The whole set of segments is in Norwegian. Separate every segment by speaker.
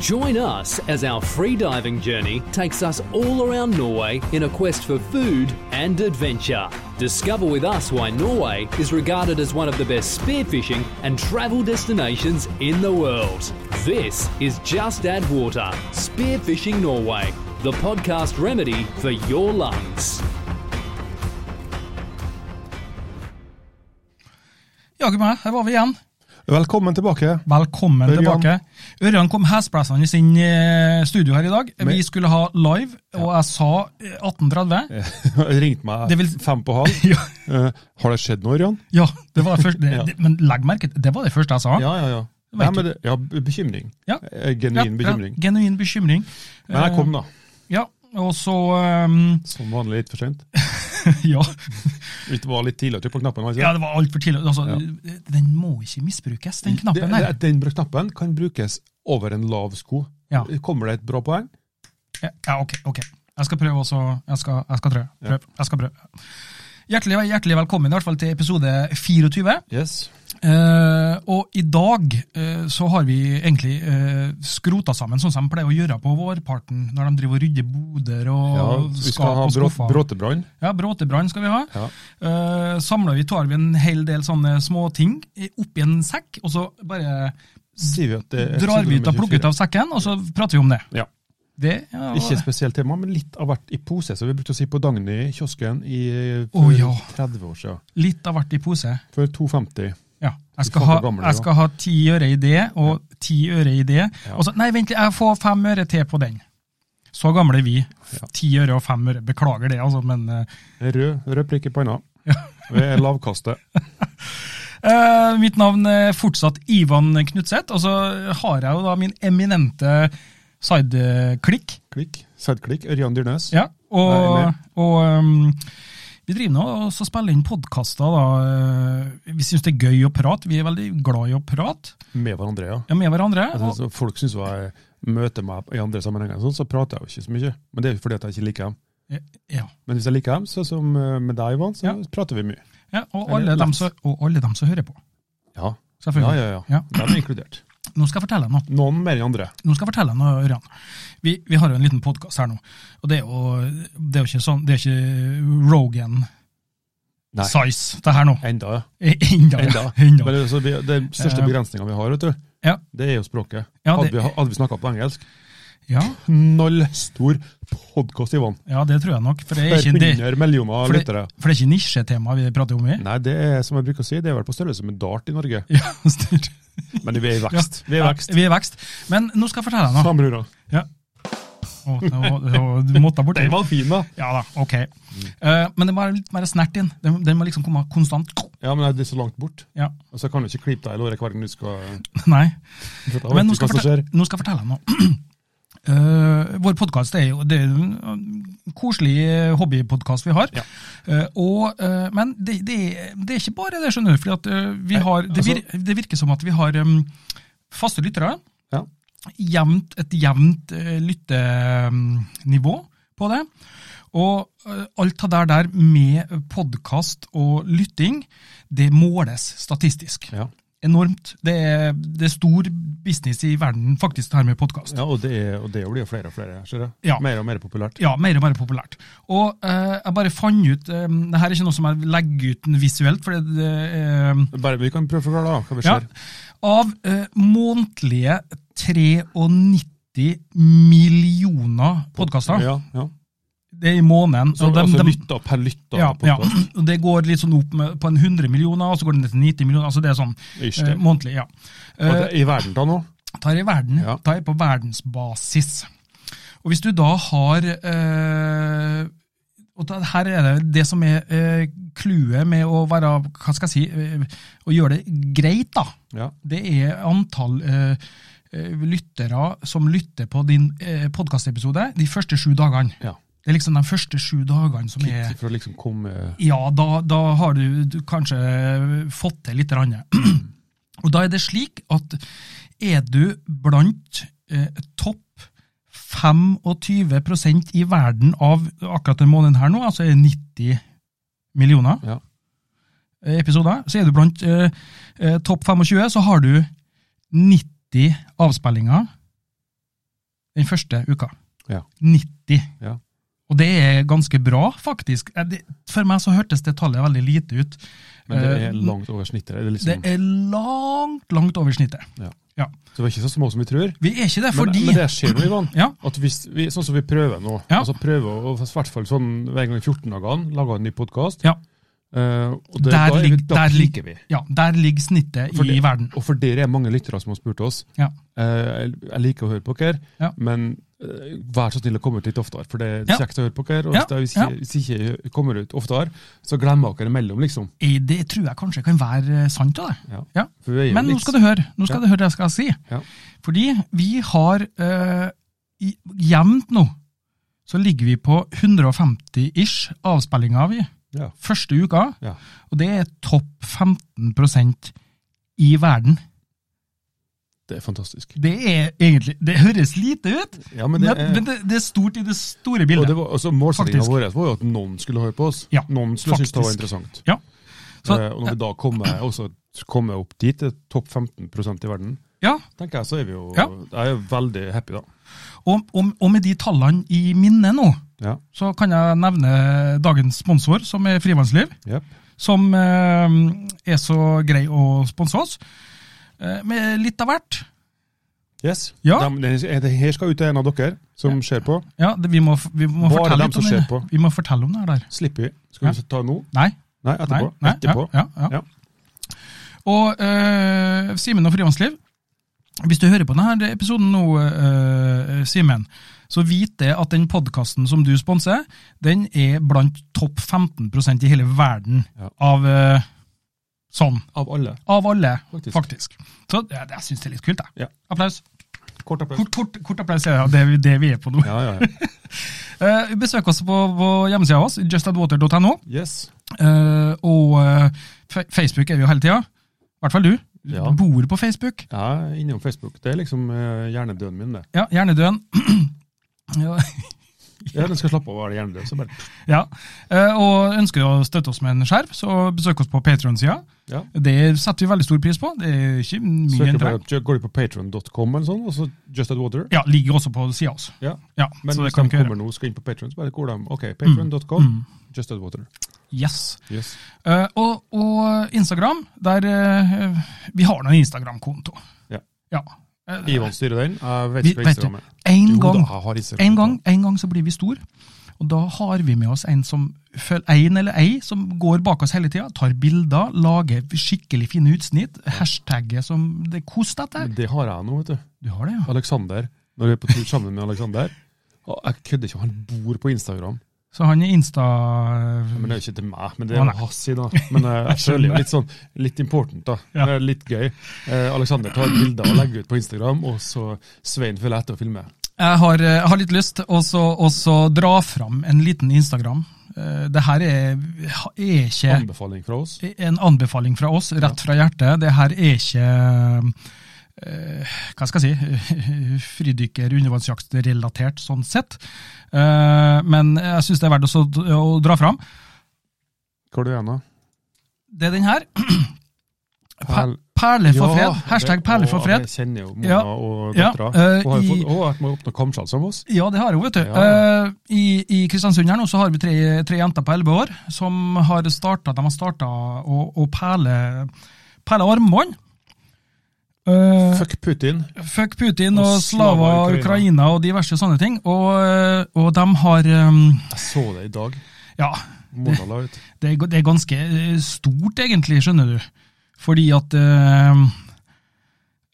Speaker 1: Join us as our free diving journey takes us all around Norway in a quest for food and adventure. Discover with us why Norway is regarded as one of the best spearfishing and travel destinations in the world. This is Just Add Water Spearfishing Norway, the podcast remedy for your lungs.
Speaker 2: Jaggu meg, her var vi igjen.
Speaker 3: Velkommen tilbake.
Speaker 2: Velkommen
Speaker 3: Ørjan.
Speaker 2: tilbake. Ørjan kom hesblesende i sin eh, studio her i dag.
Speaker 3: Men-
Speaker 2: Vi skulle ha live, og jeg sa eh, 18.30.
Speaker 3: Ringte meg
Speaker 2: Det vil-
Speaker 3: fem på halv.
Speaker 2: Ja.
Speaker 3: Eh, har det skjedd noe, Ørjan?
Speaker 2: Ja, det var det første. Det,
Speaker 3: Ja.
Speaker 2: det, men legg merke til, det var det første jeg sa.
Speaker 3: Ja, ja, ja. Nei, men det, ja, b- bekymring.
Speaker 2: Ja.
Speaker 3: Eh,
Speaker 2: Ja,
Speaker 3: Genuin
Speaker 2: ja,
Speaker 3: bekymring.
Speaker 2: Genuin bekymring.
Speaker 3: Men jeg kom, da.
Speaker 2: Ja, og så ehm,
Speaker 3: Som vanlig litt for sent.
Speaker 2: ja.
Speaker 3: Vi var litt tidlig å trykke på knappen. altså.
Speaker 2: ja, det var altfor tidlig. Altså,
Speaker 3: Ja.
Speaker 2: Den må ikke misbrukes, den knappen
Speaker 3: Det-
Speaker 2: der.
Speaker 3: det- Den br- knappen kan brukes over en lav sko.
Speaker 2: Ja.
Speaker 3: Kommer det et bra poeng?
Speaker 2: Ja, Ja, ok, ok. Jeg skal prøve også. Jeg skal, jeg skal prøve.
Speaker 3: Ja.
Speaker 2: prøve. Jeg skal prøve. Hjertelig, hjertelig velkommen i hvert fall til episode 24.
Speaker 3: Yes.
Speaker 2: Eh, og i dag eh, så har vi egentlig eh, skrota sammen, sånn som de pleier å gjøre på vårparten, når de driver og rydder boder og
Speaker 3: Ja, vi skal
Speaker 2: skap
Speaker 3: ha
Speaker 2: og
Speaker 3: brå,
Speaker 2: skuffer.
Speaker 3: bråtebrann.
Speaker 2: Ja, Bråtebrann skal vi ha.
Speaker 3: Ja.
Speaker 2: Eh, samler vi, tar vi en hel del sånne småting oppi en sekk, og så bare
Speaker 3: Sier vi at det er
Speaker 2: drar vi ut og
Speaker 3: episode nummer
Speaker 2: plukker ut av sekken, og så prater vi om det.
Speaker 3: Ja.
Speaker 2: Det ja,
Speaker 3: Ikke et spesielt tema, men litt av hvert i pose, som vi brukte å si på Dagny i kiosken i, eh, for
Speaker 2: Å, ja.
Speaker 3: 30 år siden.
Speaker 2: litt av hvert i pose.
Speaker 3: For 2,50.
Speaker 2: Ja, jeg skal,
Speaker 3: får
Speaker 2: ha,
Speaker 3: for gamle,
Speaker 2: jeg
Speaker 3: da.
Speaker 2: skal ha ti øre i det, og ti øre i det.
Speaker 3: Ja.
Speaker 2: Og så, nei, vent litt, jeg får fem øre til på den. Så gamle er vi. Ti øre og fem øre. Beklager det, altså, men eh,
Speaker 3: Rød, rød prikk i panna. Det er lavkastet.
Speaker 2: eh, Mitt navn er fortsatt Ivan Knutseth, og så har jeg jo da min eminente sideklikk.
Speaker 3: Klikk. Sædklikk. Ørjan Dyrnes.
Speaker 2: Ja,
Speaker 3: Nei,
Speaker 2: og,
Speaker 3: nei.
Speaker 2: og um, vi driver nå og så spiller inn podkaster, da. eh, Vi syns det er gøy å prate. Vi er veldig glad i å prate
Speaker 3: Med hverandre, ja.
Speaker 2: ja, med hverandre.
Speaker 3: Jeg
Speaker 2: Og,
Speaker 3: synes, folk syns jeg møter meg i andre sammenhenger, sånn, så prater jeg jo ikke så mye. Men det er jo fordi at jeg ikke liker dem.
Speaker 2: ja.
Speaker 3: Men hvis jeg liker dem, sånn som eh, med deg, Ivan, så
Speaker 2: Ja.
Speaker 3: prater vi mye.
Speaker 2: Ja, og
Speaker 3: Eller
Speaker 2: alle, dem
Speaker 3: lett.
Speaker 2: som, og alle dem som hører på.
Speaker 3: Ja, ja,
Speaker 2: Selvfølgelig.
Speaker 3: ja. ja.
Speaker 2: Ja.
Speaker 3: De er inkludert.
Speaker 2: Nå skal jeg fortelle deg noe,
Speaker 3: Noen mer enn andre.
Speaker 2: nå skal jeg fortelle deg noe Ørjan. Vi, vi har jo en liten podkast her nå, og det er jo, det er jo ikke sånn, det er ikke Rogan-size,
Speaker 3: Nei.
Speaker 2: det her nå. Eh,
Speaker 3: Enda. ja.
Speaker 2: Enda.
Speaker 3: Enda.
Speaker 2: Enda.
Speaker 3: Men det, er så vi, den største
Speaker 2: Eh.
Speaker 3: begrensninga vi har, vet du,
Speaker 2: Ja.
Speaker 3: det er jo språket.
Speaker 2: Ja,
Speaker 3: Hadde
Speaker 2: det- Mm.
Speaker 3: vi, hadde vi snakka på engelsk
Speaker 2: Ja,
Speaker 3: Null stor podkast, Ivan.
Speaker 2: ja, det tror jeg nok, for det er
Speaker 3: Per
Speaker 2: ikke, det,
Speaker 3: 100 millioner
Speaker 2: for det,
Speaker 3: lyttere.
Speaker 2: for det er ikke nisjetema vi prater om, vi.
Speaker 3: Nei, det er som jeg bruker å si, det er vel på størrelse med dart i Norge.
Speaker 2: Ja, styr.
Speaker 3: Men vi er i vekst. Vi er i
Speaker 2: Ja,
Speaker 3: vekst.
Speaker 2: vi er vekst. Men nå skal jeg fortelle deg noe.
Speaker 3: Faen, bror.
Speaker 2: Ja. Å, det var- det var- du måtte bort.
Speaker 3: Den var fin, da.
Speaker 2: Ja da, ok. Eh, men det må være litt mer snert inn. Den, den må liksom komme konstant.
Speaker 3: Ja, men det er så langt bort.
Speaker 2: Ja,
Speaker 3: Altså, jeg kan jo ikke klippe deg i låret hver gang du skal
Speaker 2: nei.
Speaker 3: Jeg vet
Speaker 2: Men nå skal,
Speaker 3: ikke hva som
Speaker 2: jeg
Speaker 3: skjer.
Speaker 2: fortelle, nå skal jeg fortelle deg noe. Eh, vår podkast er jo det er jo en eh, koselig hobbypodkast vi har.
Speaker 3: Ja.
Speaker 2: Eh, og, eh, men det, det, er- det er ikke bare det, skjønner du. Fordi at, eh, vi
Speaker 3: Nei,
Speaker 2: har, det, vir,
Speaker 3: altså-
Speaker 2: det virker som at vi har em, faste lyttere.
Speaker 3: Ja.
Speaker 2: Jevnt, et jevnt eh, lyttenivå på det. Og eh, alt det der der med podkast og lytting, det måles statistisk
Speaker 3: Ja.
Speaker 2: enormt. Det er, det er stor business i verden, faktisk, det her med podkast. Ja.
Speaker 3: ja, og det, er, og det blir jo flere og flere. Ser du?
Speaker 2: Ja.
Speaker 3: Mer og mer populært.
Speaker 2: mer og mer populært. Og eh, jeg bare fant ut eh, Det her er ikke noe som jeg legger ut visuelt, for det, det er
Speaker 3: Bare, vi kan prøve å forklare da, hva vi
Speaker 2: ja,
Speaker 3: ser.
Speaker 2: Av eh, månedlige 93 millioner podkaster,
Speaker 3: Ja, ja.
Speaker 2: det er i måneden
Speaker 3: Så,
Speaker 2: og dem-
Speaker 3: altså
Speaker 2: dem-
Speaker 3: lytta per lytta
Speaker 2: ja, ja,
Speaker 3: podcast.
Speaker 2: og det går litt sånn opp med, på en 100 millioner, og så går det ned til 90 millioner. altså Det er sånn
Speaker 3: Ish,
Speaker 2: eh,
Speaker 3: det.
Speaker 2: månedlig. ja.
Speaker 3: Og det, I verden da nå?
Speaker 2: tar i verden,
Speaker 3: Ja.
Speaker 2: tar på verdensbasis. Og hvis du da har eh, og da, Her er det det som er eh, clouet med å være hva skal jeg si, eh, å gjøre det greit, da.
Speaker 3: Ja.
Speaker 2: Det er antall eh, eh, lyttere som lytter på din eh, podkastepisode de første sju dagene.
Speaker 3: ja.
Speaker 2: Det er liksom de første sju dagene som er
Speaker 3: Litt for å liksom komme
Speaker 2: ja, da, da har du, du kanskje fått til litt. grann. Og da er det slik at er du blant eh, topp 25 i verden av akkurat den måneden her nå, altså er det 90 millioner
Speaker 3: Ja.
Speaker 2: eh, episoder, så er du blant eh, eh, topp 25, så har du 90 avspillinger den første uka.
Speaker 3: Ja.
Speaker 2: 90.
Speaker 3: Ja.
Speaker 2: Og det er ganske bra, faktisk. Eh, det- For meg så hørtes det tallet veldig lite ut.
Speaker 3: Men det
Speaker 2: Eh,
Speaker 3: er langt over snittet. Det er liksom,
Speaker 2: Det er langt, langt over snittet.
Speaker 3: Ja.
Speaker 2: Ja.
Speaker 3: Så vi er ikke så små som vi tror.
Speaker 2: Vi er ikke det,
Speaker 3: Men,
Speaker 2: fordi
Speaker 3: men det skjer noe, Ivan.
Speaker 2: Ja.
Speaker 3: At hvis vi, sånn som vi prøver nå,
Speaker 2: Ja.
Speaker 3: altså prøver å, og i hvert fall sånn hver gang i 14 dagene, lage en ny podkast.
Speaker 2: Ja.
Speaker 3: og
Speaker 2: Der
Speaker 3: det, da, er vi,
Speaker 2: ligger-
Speaker 3: da
Speaker 2: der ligger-
Speaker 3: piker vi.
Speaker 2: Ja, der ligger snittet
Speaker 3: For
Speaker 2: i
Speaker 3: det-
Speaker 2: verden.
Speaker 3: Og for dere er mange lyttere som har spurt oss.
Speaker 2: Ja.
Speaker 3: Eh, jeg- jeg liker å høre på dere,
Speaker 2: Ja.
Speaker 3: men eh, vær så snill å komme ut litt oftere. For det er
Speaker 2: Ja.
Speaker 3: kjekt å høre på dere. Og
Speaker 2: Ja,
Speaker 3: hvis jeg- hvis
Speaker 2: ja.
Speaker 3: jeg- hvis jeg ikke kommer ut oftere, så glemmer dere imellom, liksom.
Speaker 2: Eh, Det tror jeg kanskje kan være eh, sant av det.
Speaker 3: Ja.
Speaker 2: Ja.
Speaker 3: For vi er jo
Speaker 2: Men nå
Speaker 3: litt-
Speaker 2: skal du høre nå skal du
Speaker 3: Ja.
Speaker 2: høre det jeg skal si.
Speaker 3: Ja.
Speaker 2: Fordi vi har eh, i- jevnt nå så ligger vi på 150-ish avspillinger vi
Speaker 3: Ja.
Speaker 2: første uka.
Speaker 3: Ja.
Speaker 2: Og det er topp 15 i verden.
Speaker 3: Det er fantastisk.
Speaker 2: Det er egentlig Det høres lite ut,
Speaker 3: Ja,
Speaker 2: men,
Speaker 3: men det er,
Speaker 2: men det, det er stort i det store
Speaker 3: og
Speaker 2: bildet.
Speaker 3: det var, altså, målsettingen
Speaker 2: Faktisk.
Speaker 3: vår var jo at noen skulle høre på oss.
Speaker 2: Ja,
Speaker 3: noen skulle synes det var
Speaker 2: faktisk.
Speaker 3: interessant.
Speaker 2: Ja. Så-
Speaker 3: Eh, og når vi da kommer, også, kommer opp dit, til topp 15 i verden,
Speaker 2: Ja,
Speaker 3: tenker jeg så er vi jo
Speaker 2: Ja.
Speaker 3: Jeg er jo veldig happy, da.
Speaker 2: og, og, og med de tallene i minne nå,
Speaker 3: Ja.
Speaker 2: så kan jeg nevne dagens sponsor, som er Frivannsliv.
Speaker 3: Jep.
Speaker 2: som eh, er så grei å sponse oss. Eh, med litt av hvert.
Speaker 3: Yes.
Speaker 2: Ja.
Speaker 3: Dem- det, det her skal ut til en av dere som ser på.
Speaker 2: Ja, det, vi må, vi må
Speaker 3: Bare
Speaker 2: fortelle
Speaker 3: dem
Speaker 2: litt
Speaker 3: som
Speaker 2: om
Speaker 3: ser
Speaker 2: det.
Speaker 3: på.
Speaker 2: Vi må fortelle om det her der.
Speaker 3: Slipper vi. Skal vi ta nå?
Speaker 2: Nei,
Speaker 3: Nei,
Speaker 2: nei,
Speaker 3: etterpå.
Speaker 2: nei
Speaker 3: etterpå.
Speaker 2: Ja, ja, ja.
Speaker 3: Ja.
Speaker 2: Og eh, Simen og Frivannsliv, hvis du hører på denne episoden nå, eh, Simen, så vit det at den podkasten som du sponser, den er blant topp 15 i hele verden
Speaker 3: Ja.
Speaker 2: av eh, sånn.
Speaker 3: Av alle.
Speaker 2: Av alle,
Speaker 3: Faktisk.
Speaker 2: faktisk. Så jeg, jeg syns det er litt kult, jeg.
Speaker 3: Ja.
Speaker 2: Applaus.
Speaker 3: Kort applaus.
Speaker 2: Kort, kort, kort applaus, ja. Det er vi- det vi er på nå.
Speaker 3: Ja, ja, ja.
Speaker 2: Eh, besøk oss på, på hjemmesida vår, justadwater.no.
Speaker 3: Yes.
Speaker 2: eh, og eh, fe- Facebook er vi jo hele tida. I hvert fall du.
Speaker 3: Ja.
Speaker 2: Du Bor på Facebook.
Speaker 3: Jeg er innom Facebook. Det er liksom eh, hjernedøden min, det.
Speaker 2: Ja, Hjernedøden. ja.
Speaker 3: Ja, den skal slappe av å være hjernedød. Så bare
Speaker 2: ja. Eh, og ønsker du å støtte oss med en skjerv, så besøk oss på Patron-sida.
Speaker 3: ja.
Speaker 2: Det setter vi veldig stor pris på. Det er ikke mye enn
Speaker 3: Søker bare,
Speaker 2: det.
Speaker 3: opp- Går du på patron.com eller sånn, og så Just At Water?
Speaker 2: Ja, ligger også på sida vår.
Speaker 3: Ja.
Speaker 2: Ja,
Speaker 3: Men
Speaker 2: så det
Speaker 3: hvis
Speaker 2: kan
Speaker 3: de
Speaker 2: vi ikke gjøre. Mm.
Speaker 3: kommer nå og skal inn på Patron, så bare går de OK, patron.com, Just At Water.
Speaker 2: Yes.
Speaker 3: Yes.
Speaker 2: Eh, og, og Instagram, der eh, Vi har nå en Instagram-konto.
Speaker 3: Ja.
Speaker 2: Eh,
Speaker 3: Ivan styrer den. Jeg vet
Speaker 2: vi,
Speaker 3: ikke hva
Speaker 2: vet du,
Speaker 3: Instagram er.
Speaker 2: en
Speaker 3: Jo da,
Speaker 2: gang,
Speaker 3: jeg har Instagram.
Speaker 2: en, gang, en gang så blir vi stor, og da har vi med oss en som føl- en eller ei som går bak oss hele tida, tar bilder, lager skikkelig fine utsnitt, hashtagget som det er kost etter.
Speaker 3: Men Det har jeg nå, vet du.
Speaker 2: Du har det, ja?
Speaker 3: Alexander, når vi er på tur sammen med Alexander og Jeg kødder ikke, han bor på Instagram.
Speaker 2: Så han er Insta...
Speaker 3: Men det er jo ikke til meg, men det
Speaker 2: Å,
Speaker 3: er
Speaker 2: nei.
Speaker 3: hans i da. Men eh, jeg føler jo litt sånn, litt important da.
Speaker 2: Ja.
Speaker 3: Det er Litt gøy. Eh, Alexander tar bilder og legger ut på Instagram, og så Svein følger etter og filmer.
Speaker 2: Jeg har, jeg har litt lyst til å så- å så dra fram en liten Instagram. Eh, Det her er, er ikke
Speaker 3: Anbefaling fra oss.
Speaker 2: en anbefaling fra oss, rett fra hjertet. Det her er ikke eh, hva skal jeg si fridykker, undervannsjakt relatert sånn sett. Eh, men jeg syns det er verdt å, så- å dra fram.
Speaker 3: Hva er det igjen da?
Speaker 2: Det er den her.
Speaker 3: Perl-
Speaker 2: Perler for
Speaker 3: Ja,
Speaker 2: fred. Hashtag
Speaker 3: det-
Speaker 2: perler for
Speaker 3: å,
Speaker 2: fred.
Speaker 3: Jeg kjenner jo Mona
Speaker 2: Ja.
Speaker 3: og
Speaker 2: Ja,
Speaker 3: dattera.
Speaker 2: eh,
Speaker 3: Hun har jo
Speaker 2: i-
Speaker 3: fått, å, jeg må åpne kamskjell sammen med oss.
Speaker 2: Ja, det har hun, vet du.
Speaker 3: Ja.
Speaker 2: Eh, I, I Kristiansund her nå så har vi tre, tre jenter på 11 år som har starta de har starta å, å perle, perle armbånd. Eh,
Speaker 3: Fuck Putin.
Speaker 2: Fuck Putin og,
Speaker 3: Og slaver
Speaker 2: slaver og
Speaker 3: i
Speaker 2: Ukraina og diverse sånne ting. Og, eh, og de har eh,
Speaker 3: Jeg så det i dag.
Speaker 2: Ja,
Speaker 3: Mona la ut.
Speaker 2: det er, g- det er ganske eh, stort, egentlig, skjønner du. Fordi at eh,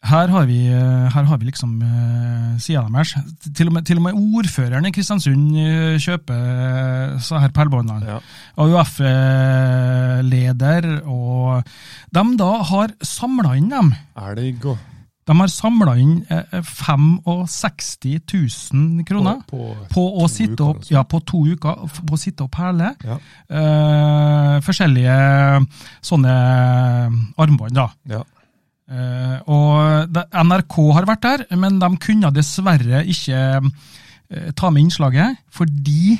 Speaker 2: her har vi, eh, her har vi liksom eh, sida deres. Til, og med- til og med ordføreren i Kristiansund eh, kjøper eh, så her perlebåndene.
Speaker 3: Ja.
Speaker 2: AUF-leder eh, og De da har samla inn dem.
Speaker 3: Er det i går?
Speaker 2: De har samla inn eh, 65 000 kroner
Speaker 3: På, på,
Speaker 2: på å
Speaker 3: to
Speaker 2: sitte
Speaker 3: uker,
Speaker 2: opp,
Speaker 3: altså.
Speaker 2: ja, på to uker, f- på å sitte og perle.
Speaker 3: Ja.
Speaker 2: Eh, forskjellige eh, sånne armbånd, da.
Speaker 3: ja.
Speaker 2: Eh, og det- NRK har vært der, men de kunne dessverre ikke eh, ta med innslaget, fordi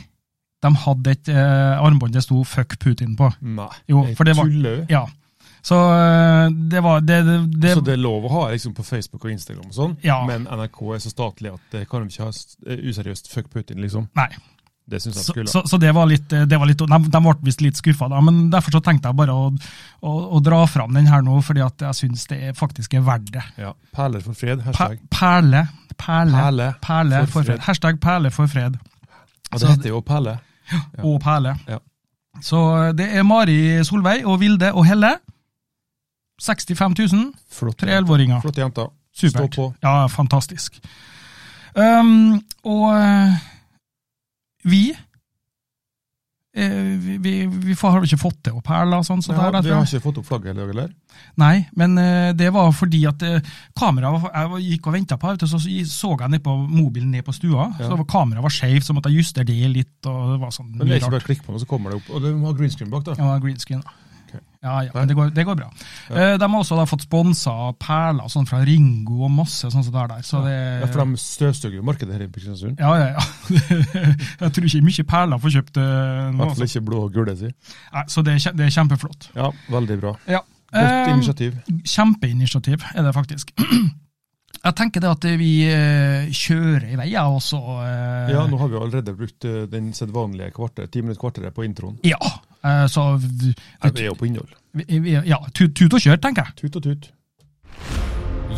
Speaker 2: de hadde et eh, armbånd det sto 'fuck Putin' på.
Speaker 3: Nei.
Speaker 2: Jo,
Speaker 3: jeg
Speaker 2: for det var-
Speaker 3: tuller.
Speaker 2: Ja. Så eh, det var det, det, det,
Speaker 3: Så det er lov å ha liksom, på Facebook og Instagram, og sånn,
Speaker 2: Ja.
Speaker 3: men NRK er så statlig at det kan de ikke ha s- eh, useriøst fuck Putin, liksom.
Speaker 2: Nei.
Speaker 3: Det syns jeg
Speaker 2: Så,
Speaker 3: skulle.
Speaker 2: så, så det var litt, eh, det var litt De, de ble visst litt skuffa, da. Men derfor så tenkte jeg bare å, å, å dra fram den her nå, fordi at jeg syns det er- faktisk er verdt det.
Speaker 3: ja. Perler for fred,
Speaker 2: Per,
Speaker 3: hashtag.
Speaker 2: perle. Perle,
Speaker 3: Perle
Speaker 2: perle
Speaker 3: for
Speaker 2: for
Speaker 3: fred.
Speaker 2: fred. Hashtag perle for fred.
Speaker 3: Og
Speaker 2: så-
Speaker 3: det heter jo Perle. Ja.
Speaker 2: Og perle.
Speaker 3: Ja.
Speaker 2: Så eh, det er Mari Solveig og Vilde og Helle. 65 000.
Speaker 3: Flott,
Speaker 2: Tre elleveåringer.
Speaker 3: Flott jenta. Stå
Speaker 2: Supert.
Speaker 3: på.
Speaker 2: Ja, fantastisk. Ehm, og eh, vi eh, vi, vi, vi får- har jo ikke fått det opp her, eller sånn. Så
Speaker 3: Nei,
Speaker 2: der,
Speaker 3: vi har
Speaker 2: derfor.
Speaker 3: ikke fått opp flagget i dag, eller?
Speaker 2: Nei, men eh, det var fordi at eh, kameraet var- jeg var- gikk og venta på, vet du, så så så jeg ned på mobilen ned på stua.
Speaker 3: Ja.
Speaker 2: Så var- kameraet var skeivt, så måtte jeg justere det litt. og det var sånn
Speaker 3: Men det
Speaker 2: mye
Speaker 3: er ikke
Speaker 2: rart.
Speaker 3: bare å klikke på den, så kommer det opp. Og du må ha green screen bak, da.
Speaker 2: Ja, green screen. da.
Speaker 3: Ok.
Speaker 2: Ja, ja, men det går, det går bra. Eh, de har også da fått sponsa perler sånn fra Ringo og masse sånn som det er der. Så det,
Speaker 3: Ja, for de støvsuger jo markedet her i Kristiansund.
Speaker 2: Ja, ja, ja. Jeg tror ikke mye perler får kjøpt eh,
Speaker 3: I
Speaker 2: nå.
Speaker 3: hvert fall
Speaker 2: Altså.
Speaker 3: ikke blå og gule, si.
Speaker 2: Nei, så det er, kje- det er kjempeflott.
Speaker 3: Ja, veldig bra.
Speaker 2: Ja.
Speaker 3: Godt
Speaker 2: Eh,
Speaker 3: initiativ.
Speaker 2: Kjempeinitiativ er det faktisk. Jeg tenker det at vi eh, kjører i vei, ja, og så eh,
Speaker 3: Ja, nå har vi jo allerede brukt eh, den sedvanlige kvarter, ti minutter kvarteret på introen.
Speaker 2: ja. eh, så vi,
Speaker 3: Ja, Vi er jo på innhold.
Speaker 2: vi, vi, ja, tut, tut og kjør, tenker jeg.
Speaker 3: Tut og tut.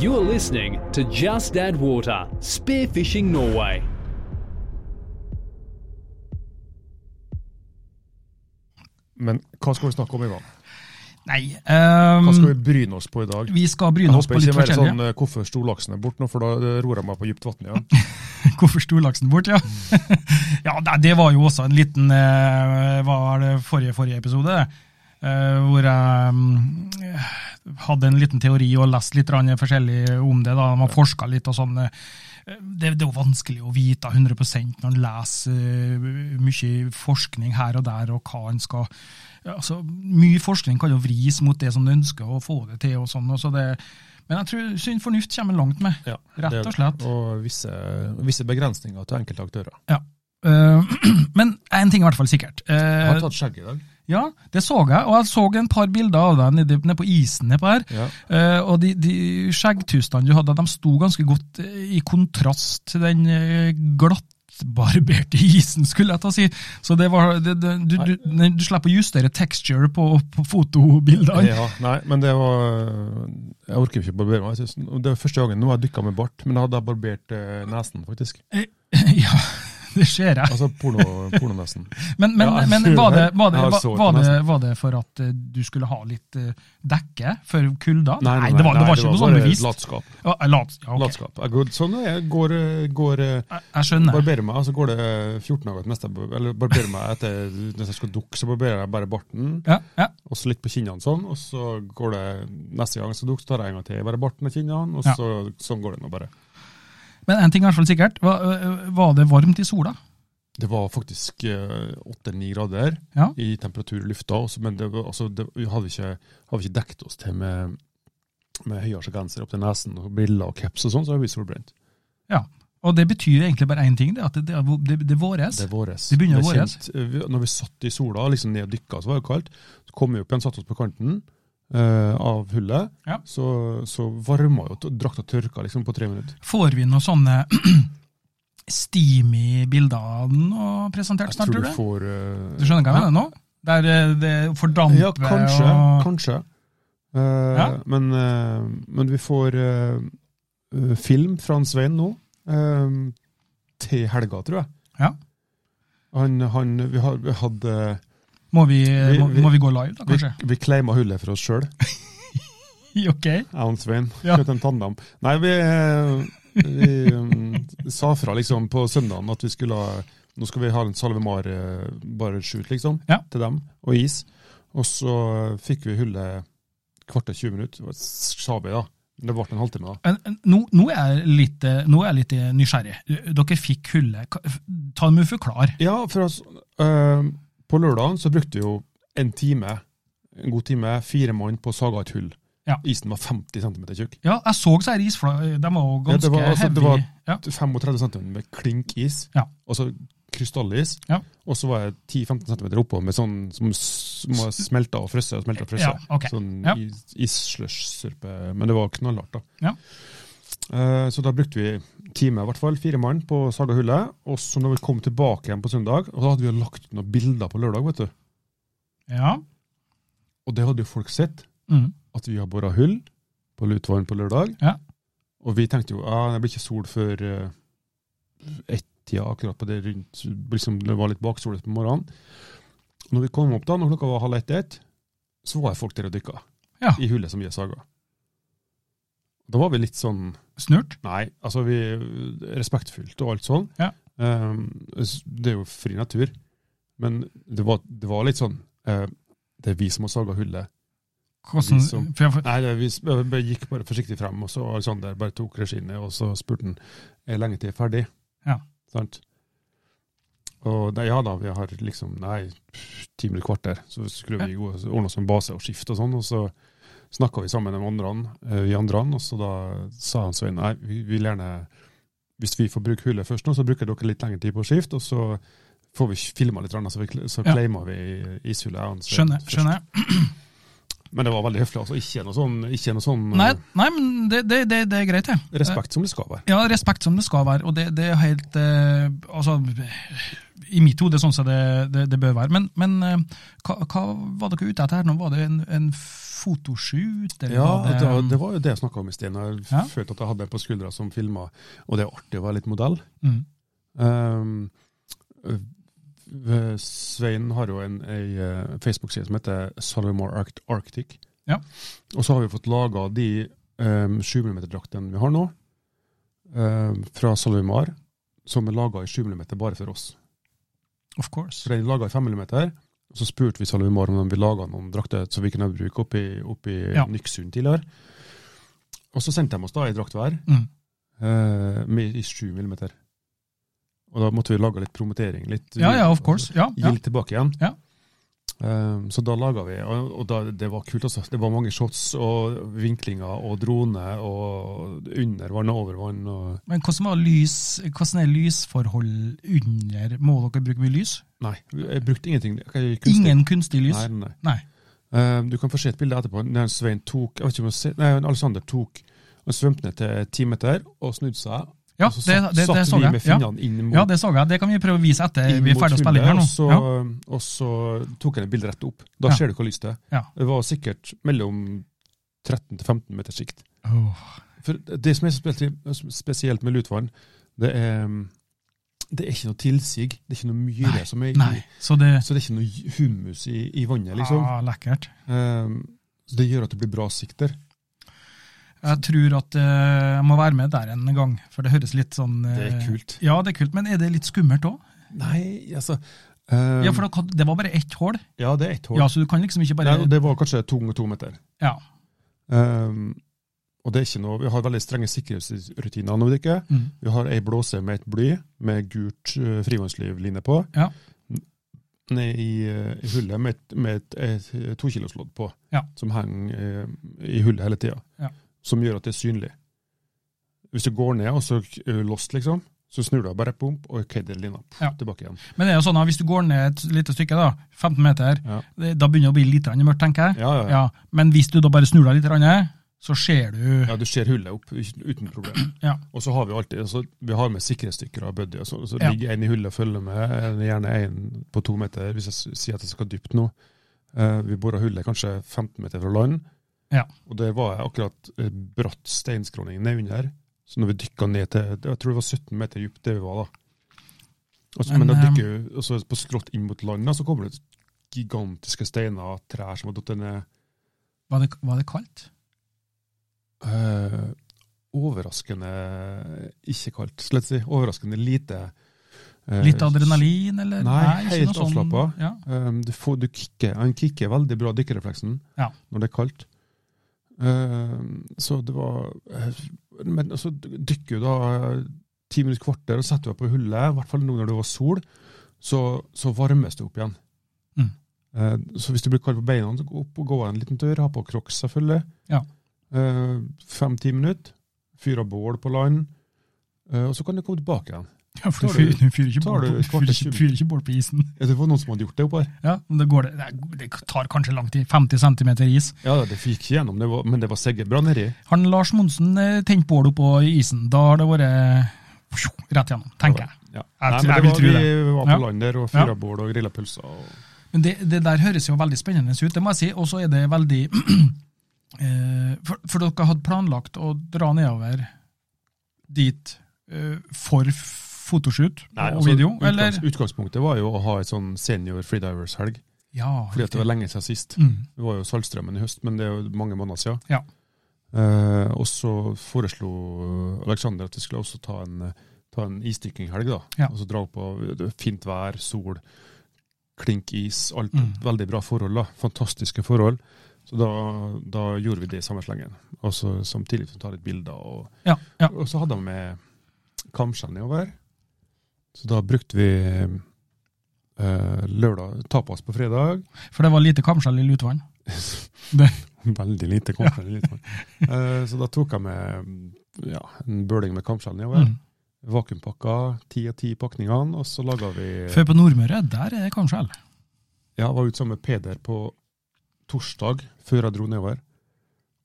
Speaker 1: You're listening to Just Add Water Spearfishing Norway.
Speaker 3: Men hva skal vi snakke om, Ivan?
Speaker 2: Nei.
Speaker 3: Hva
Speaker 2: ehm,
Speaker 3: skal vi bryne oss på i dag?
Speaker 2: vi skal
Speaker 3: Jeg
Speaker 2: bryne oss
Speaker 3: håper
Speaker 2: på
Speaker 3: ikke
Speaker 2: litt
Speaker 3: det er
Speaker 2: forskjellige.
Speaker 3: sånn eh, 'hvorfor sto laksen bort nå', for da eh, ror jeg meg på dypt vann igjen.
Speaker 2: Hvorfor sto laksen bort, ja? ja, nei, det var jo også en liten eh, Hva var det forrige, forrige episode? Eh, hvor jeg mm, hadde en liten teori og lest litt grann forskjellig om det. da, Man forska litt og sånn. eh, Det, det er jo vanskelig å vite 100 når en leser eh, mye forskning her og der, og hva en skal ja, altså, Mye forskning kan jo vris mot det som en ønsker å få det til. og sånn, og så det, Men jeg tror sunn fornuft kommer langt med.
Speaker 3: Ja,
Speaker 2: Rett
Speaker 3: det er-
Speaker 2: og slett.
Speaker 3: Og visse, visse begrensninger til enkelte aktører.
Speaker 2: Eh, men én ting er i hvert fall sikkert. Eh,
Speaker 3: Jeg har tatt skjegg i dag.
Speaker 2: ja, Det så jeg, og jeg så en par bilder av deg nede, nede på isen nedpå her.
Speaker 3: Ja.
Speaker 2: Eh, og de, de skjeggtustene du hadde, de sto ganske godt eh, i kontrast til den eh, glattbarberte isen, skulle jeg ta og si. Så det var, det, det, du, du, du slipper å justere texture på, på fotobildene.
Speaker 3: Ja, nei, men det var Jeg orker ikke å barbere meg. Jeg synes, det var første gangen nå har jeg dykka med bart, men da hadde jeg barbert eh, nesen, faktisk.
Speaker 2: ja, det ser jeg.
Speaker 3: Altså porno, pornonesen.
Speaker 2: Men, men,
Speaker 3: Ja, jeg
Speaker 2: men
Speaker 3: tror
Speaker 2: var, det,
Speaker 3: det.
Speaker 2: var, det,
Speaker 3: Jeg har
Speaker 2: var,
Speaker 3: sår på
Speaker 2: var, det,
Speaker 3: nesen.
Speaker 2: var det for at eh, du skulle ha litt eh, dekke for kulda?
Speaker 3: Nei, nei,
Speaker 2: det var, det
Speaker 3: nei,
Speaker 2: var ikke noe sånn
Speaker 3: bare
Speaker 2: bevist.
Speaker 3: Latskap.
Speaker 2: Ja, jeg lat, ja, ok.
Speaker 3: Latskap. Jeg går, sånn er jeg. Går, eh, går eh,
Speaker 2: Jeg, jeg skjønner.
Speaker 3: Barberer meg, og så går det 14 dager til neste jeg bar- Eller barberer meg etter Når jeg skal dukke, så barberer jeg bare barten,
Speaker 2: Ja, ja,
Speaker 3: og så litt på kinnene sånn, og så går det neste gang jeg skal dukke, så tar jeg en gang til bare barten og kinnene, og
Speaker 2: Ja.
Speaker 3: så sånn går det nå bare.
Speaker 2: Men én ting er i hvert fall sikkert. Var, øh, var det varmt i sola?
Speaker 3: Det var faktisk eh, 8-9 grader
Speaker 2: Ja.
Speaker 3: i temperatur i lufta, også, men det, var- altså, det, vi hadde ikke, hadde ikke dekket oss til med, med høyere genser opp til nesen og briller og caps og sånn, så har vi solbrent.
Speaker 2: ja. Og det betyr egentlig bare én ting, det er at det, det, er- det, det er våres.
Speaker 3: Det er våres.
Speaker 2: Det begynner å
Speaker 3: er
Speaker 2: våres.
Speaker 3: kjent. Eh, vi- Når vi satt i sola liksom ned og dykka, så var det kaldt. Så kom vi opp igjen, satte oss på kanten eh, av hullet,
Speaker 2: Ja.
Speaker 3: så, så varma jo t- drakta tørka liksom på tre minutter.
Speaker 2: Får vi noen sånne steamy bilder av den og presentert
Speaker 3: Jeg
Speaker 2: snart,
Speaker 3: tror
Speaker 2: tror
Speaker 3: du
Speaker 2: du?
Speaker 3: får eh,
Speaker 2: Du skjønner hva jeg mener nå? Der øh, det fordamper
Speaker 3: Ja, kanskje.
Speaker 2: og
Speaker 3: kanskje. Eh,
Speaker 2: Ja.
Speaker 3: men, eh, men vi får eh, eh, film fra han Svein nå, eh, til helga, tror jeg.
Speaker 2: Ja.
Speaker 3: Han, han, vi, har, vi hadde
Speaker 2: Må vi,
Speaker 3: Vi-
Speaker 2: må,
Speaker 3: vi-
Speaker 2: må vi gå live, da,
Speaker 3: Vi,
Speaker 2: kanskje?
Speaker 3: vi claima hullet for oss sjøl.
Speaker 2: Ok.
Speaker 3: Jeg og Svein.
Speaker 2: Ja.
Speaker 3: Kjøpte en tandem. Nei, vi, eh, vi um, sa fra liksom på søndagen at vi skulle ha Nå skal vi ha en Salvemar eh, bare shoot, liksom.
Speaker 2: Ja.
Speaker 3: Til dem. Og is. Og så fikk vi hullet kvarter 20 minutter. Det var- Sa vi, da. Men Det ble en halvtime, da.
Speaker 2: Men, eh, Nå, nå, er jeg litt, eh, nå er jeg litt eh, nysgjerrig. Dere fikk hullet. Ka- f- Ta dem og forklar.
Speaker 3: Ja, for altså, eh, på lørdagen så brukte vi jo en time, en god time, fire mann på å sage et hull.
Speaker 2: Ja.
Speaker 3: Isen var 50 cm tjukk.
Speaker 2: Ja, jeg så så her isfla... eh, De var jo
Speaker 3: Ja, det
Speaker 2: ganske
Speaker 3: var- altså, det
Speaker 2: heavy.
Speaker 3: var-
Speaker 2: ja.
Speaker 3: 35 cm med klinkis.
Speaker 2: Ja.
Speaker 3: Og så krystallis.
Speaker 2: Ja.
Speaker 3: Og så var jeg 10-15 cm oppå med sånn som s- som var smelta og frosset og smelta og frosset.
Speaker 2: Ja, ok.
Speaker 3: Sånn
Speaker 2: Ja.
Speaker 3: is- is-slush-sørpe. Men det var knallhardt, da.
Speaker 2: Ja.
Speaker 3: Eh, Så da brukte vi time, i hvert fall, fire mann, på å Saga hullet. Og så når vi kom tilbake igjen på søndag, og da hadde vi jo lagt ut noen bilder på lørdag, vet du.
Speaker 2: Ja.
Speaker 3: Og det hadde jo folk sett,
Speaker 2: Mm.
Speaker 3: at vi har bora hull på Lutvann på lørdag.
Speaker 2: Ja.
Speaker 3: Og vi tenkte jo ja, det blir ikke sol før uh, ett-tida, akkurat på det rundt liksom, Det var litt baksolet på morgenen. Når vi kom opp da, når klokka var halv ett-ett, så var det folk der og dykka.
Speaker 2: Ja.
Speaker 3: I hullet som vi har saga. Da var vi litt sånn
Speaker 2: Snurt.
Speaker 3: Nei, altså vi Respektfullt og alt sånn.
Speaker 2: Ja.
Speaker 3: Ehm, s- det er jo fri natur. Men det var, det var litt sånn eh, Det er vi som har saga hullet.
Speaker 2: Hvordan,
Speaker 3: Vi som-
Speaker 2: for jeg, for,
Speaker 3: Nei, det, er vi s- jeg bare gikk bare forsiktig frem, og så Alexander bare tok regiene, og så spurte han er lenge til jeg er ferdig.
Speaker 2: Ja.
Speaker 3: Sant? Og nei, ja da, vi har liksom nei, pff, ti minutter kvarter, så skulle vi gå og ordne oss en base og skifte og sånn, og så snakka vi sammen med andre, eh, vi andre, og så da sa han Svein nei, vi vil gjerne hvis vi får bruke hullet først nå, så bruker dere litt lengre tid på skift, og så får vi filma litt, grann, så, vi, kl- så
Speaker 2: Ja.
Speaker 3: claimer vi ishullet. jeg og han Svein
Speaker 2: skjønner,
Speaker 3: først.
Speaker 2: skjønner jeg.
Speaker 3: Men det var veldig høflig, altså. Ikke noe sånn, ikke noe sånn eh,
Speaker 2: Nei, nei men det, det, det, det er greit, det. Eh,
Speaker 3: Respekt som det skal være.
Speaker 2: Ja, respekt som det skal være, og det, det er helt eh, Altså, i mitt hode sånn som det, det, det bør være. Men, men eh, hva, hva var dere ute etter her nå? Var det en, en fotoshoot? eller
Speaker 3: Ja,
Speaker 2: var
Speaker 3: det, var- det var jo det jeg snakka om i sted. når Jeg
Speaker 2: Ja.
Speaker 3: følte at jeg hadde en på skuldra som filma, og det er artig å være litt modell.
Speaker 2: Mm.
Speaker 3: Ehm, øh, Svein har jo en, ei eh, Facebook-side som heter Solomore Arct Arctic.
Speaker 2: Ja.
Speaker 3: Og så har vi fått laga de um, 7 mm-draktene vi har nå, ehm, fra Solomar, som er laga i 7 mm bare for oss.
Speaker 2: Of course.
Speaker 3: Så den er laga i 5 mm. og Så spurte vi Salumar om de ville lage noen drakter som vi kunne bruke oppe i, oppe i
Speaker 2: Ja.
Speaker 3: Nyksund tidligere. Og så sendte de oss da ei drakt hver
Speaker 2: Mm.
Speaker 3: eh, med, i 7 mm. Og da måtte vi lage litt promotering. Litt,
Speaker 2: Ja, ja, of course. Ja,
Speaker 3: Gi
Speaker 2: ja.
Speaker 3: litt tilbake igjen.
Speaker 2: Ja.
Speaker 3: Eh, så da laga vi, og, og da, det var kult. altså. Det var mange shots og vinklinger og drone og under vann og over vann. og...
Speaker 2: Men hvordan, var lys, hvordan er lysforhold under? Må dere bruke mye lys?
Speaker 3: Nei, jeg brukte ingenting. Jeg- kunstig-
Speaker 2: Ingen kunstig lys?
Speaker 3: Nei, nei, nei.
Speaker 2: Nei.
Speaker 3: Eh, Du kan få se et bilde etterpå. Når Svein tok, jeg vet ikke om jeg ser- nei, Alexander tok og svømte ned til ti meter og snudde seg.
Speaker 2: Ja,
Speaker 3: og så
Speaker 2: det, det, det
Speaker 3: satt
Speaker 2: så
Speaker 3: vi
Speaker 2: jeg.
Speaker 3: med
Speaker 2: Ja.
Speaker 3: finnene inn mot,
Speaker 2: ja, det så jeg. Det kan vi prøve å vise etter
Speaker 3: inn
Speaker 2: vi er
Speaker 3: mot
Speaker 2: ferdig å spille inn her
Speaker 3: hullet,
Speaker 2: nå.
Speaker 3: og så,
Speaker 2: Ja.
Speaker 3: og så tok han et bilde rett opp. Da
Speaker 2: Ja.
Speaker 3: ser du hvor lyst det er.
Speaker 2: Ja.
Speaker 3: Det var sikkert mellom 13 til 15 meters sikt.
Speaker 2: Åh.
Speaker 3: For det som er så spesi- spesielt med lutvann, det er mm, det er ikke noe tilsig, det er ikke noe myre
Speaker 2: Nei,
Speaker 3: som er i,
Speaker 2: Nei, så det
Speaker 3: så det er ikke noe humus i, i vannet, liksom.
Speaker 2: ah, Lekkert.
Speaker 3: Eh, så det gjør at det blir bra sikter.
Speaker 2: Jeg tror at eh, jeg må være med der en gang, for det høres litt sånn eh,
Speaker 3: Det er kult.
Speaker 2: Ja, det er kult, men er det litt skummelt òg?
Speaker 3: Nei, altså
Speaker 2: Ja, for da kan- det var bare ett hull,
Speaker 3: ja, det er ett hår.
Speaker 2: ja, så du kan liksom ikke bare
Speaker 3: Um, Nei, og det var kanskje to ganger to meter.
Speaker 2: Ja.
Speaker 3: Ehm, og det er ikke noe, Vi har veldig strenge sikkerhetsrutiner når vi dykker.
Speaker 2: Mm.
Speaker 3: Vi har ei blåse med et bly med gult uh, frihåndslivline på.
Speaker 2: Ja.
Speaker 3: N- Ned i, eh, i hullet med et, med et, et, eh, tokiloslodd på,
Speaker 2: Ja.
Speaker 3: som henger eh, i hullet hele tida.
Speaker 2: Ja.
Speaker 3: Som gjør at det er synlig. Hvis du går ned og så er du lost, liksom, så snur du deg bare, pump, og ok, det er lina.
Speaker 2: Ja.
Speaker 3: Tilbake igjen.
Speaker 2: Men det er jo sånn at hvis du går ned et lite stykke, da, 15 meter,
Speaker 3: Ja.
Speaker 2: det- da begynner det å bli litt grann mørkt, tenker jeg.
Speaker 3: Ja, ja, ja.
Speaker 2: Ja, Men hvis du da bare snur deg litt, grann, så ser du
Speaker 3: Ja, du ser hullet opp u- uten problem.
Speaker 2: Ja.
Speaker 3: Og så har vi alltid, altså, vi har med sikkerhetsstykker av buddy, og så, så
Speaker 2: Ja.
Speaker 3: ligger en i hullet og følger med, eller gjerne en på to meter, hvis jeg s- sier at jeg skal dypt nå. Eh, vi borer hullet kanskje 15 meter fra land,
Speaker 2: Ja.
Speaker 3: og det var jeg akkurat eh, bratt steinskråning nedunder, så når vi dykket ned til, jeg tror det var 17 meter djupt det vi var da. Og så-
Speaker 2: Men,
Speaker 3: men da
Speaker 2: eh,
Speaker 3: dykker vi og så på skrått inn mot land, da, så kommer det gigantiske steiner, trær som har døtt ned.
Speaker 2: Var det, var det kaldt?
Speaker 3: Eh, overraskende ikke kaldt, skal jeg si. Overraskende lite. eh,
Speaker 2: Litt adrenalin, eller?
Speaker 3: Nei,
Speaker 2: ikke
Speaker 3: helt
Speaker 2: noe sånn-
Speaker 3: avslappet.
Speaker 2: Ja.
Speaker 3: Um, du får, du kicker, han kicker veldig bra dykkerrefleksen
Speaker 2: Ja.
Speaker 3: når det er kaldt. Um, så det var eh, Men så dykker du da eh, ti minutter kvarter og setter deg på hullet, i hvert fall nå når det var sol, så, så varmes det opp igjen.
Speaker 2: Mm.
Speaker 3: Eh, så hvis du blir kald på beina, så gå opp og gå en liten tur, ha på crocs selvfølgelig. Ehm,
Speaker 2: Ja.
Speaker 3: Fem-ti minutter, fyr av bål på land, eh, og så kan du komme tilbake igjen.
Speaker 2: Ja, for du
Speaker 3: Tar du-
Speaker 2: fyrer, fyrer ikke
Speaker 3: tar
Speaker 2: bål
Speaker 3: du
Speaker 2: på-
Speaker 3: et
Speaker 2: fyrer
Speaker 3: kvarter
Speaker 2: ikke- fyrer ikke bål på isen.
Speaker 3: Ja, det var noen som hadde gjort det oppå her.
Speaker 2: Ja, men det, går, det- det, det tar kanskje lang tid. 50 cm is.
Speaker 3: Ja, det gikk gjennom, det var, men det var sikkert bra nedi.
Speaker 2: Han Lars Monsen eh, tente bål oppå isen. Da har det vært pjo, rett gjennom, tenker jeg.
Speaker 3: Ja.
Speaker 2: Jeg
Speaker 3: Nei,
Speaker 2: tr- jeg
Speaker 3: men det
Speaker 2: vil
Speaker 3: var,
Speaker 2: tro
Speaker 3: Vi var på
Speaker 2: Ja.
Speaker 3: land der og
Speaker 2: Ja.
Speaker 3: fyra bål og grilla pølser. Og,
Speaker 2: Men det, det der høres jo veldig spennende ut, det må jeg si. Og så er det veldig eh, for, for dere hadde planlagt å dra nedover dit eh, for fotoshoot og
Speaker 3: altså,
Speaker 2: video,
Speaker 3: utgangs-
Speaker 2: eller?
Speaker 3: Utgangspunktet var jo å ha et sånn senior freedivers-helg,
Speaker 2: Ja.
Speaker 3: fordi at det var lenge siden sist.
Speaker 2: Mm.
Speaker 3: Det var jo Saltstraumen i høst, men det er jo mange måneder siden.
Speaker 2: Ja.
Speaker 3: Eh, og så foreslo Alexander at vi skulle også ta en, ta en isdykkinghelg, da.
Speaker 2: Ja.
Speaker 3: Og så dra opp og det er fint vær, sol, klink is, alt
Speaker 2: Mm.
Speaker 3: veldig bra forhold, da. Fantastiske forhold. Så da, da gjorde vi det i samme slengen. Og så samtidig som vi tar litt bilder. Og,
Speaker 2: Ja, ja.
Speaker 3: og så hadde han med kamskjell nedover. Så da brukte vi eh, lørdag tapas på fredag.
Speaker 2: For det var lite kamskjell i Lutvann.
Speaker 3: Veldig lite kamskjell. litt sånn. Eh, så da tok jeg med ja, en bøling med kamskjell nedover.
Speaker 2: Mm.
Speaker 3: Vakuumpakka ti av ti pakningene, og så laga vi
Speaker 2: For på Nordmøre, der er det kamskjell.
Speaker 3: Ja, jeg var ute sammen med Peder på torsdag, før jeg dro nedover.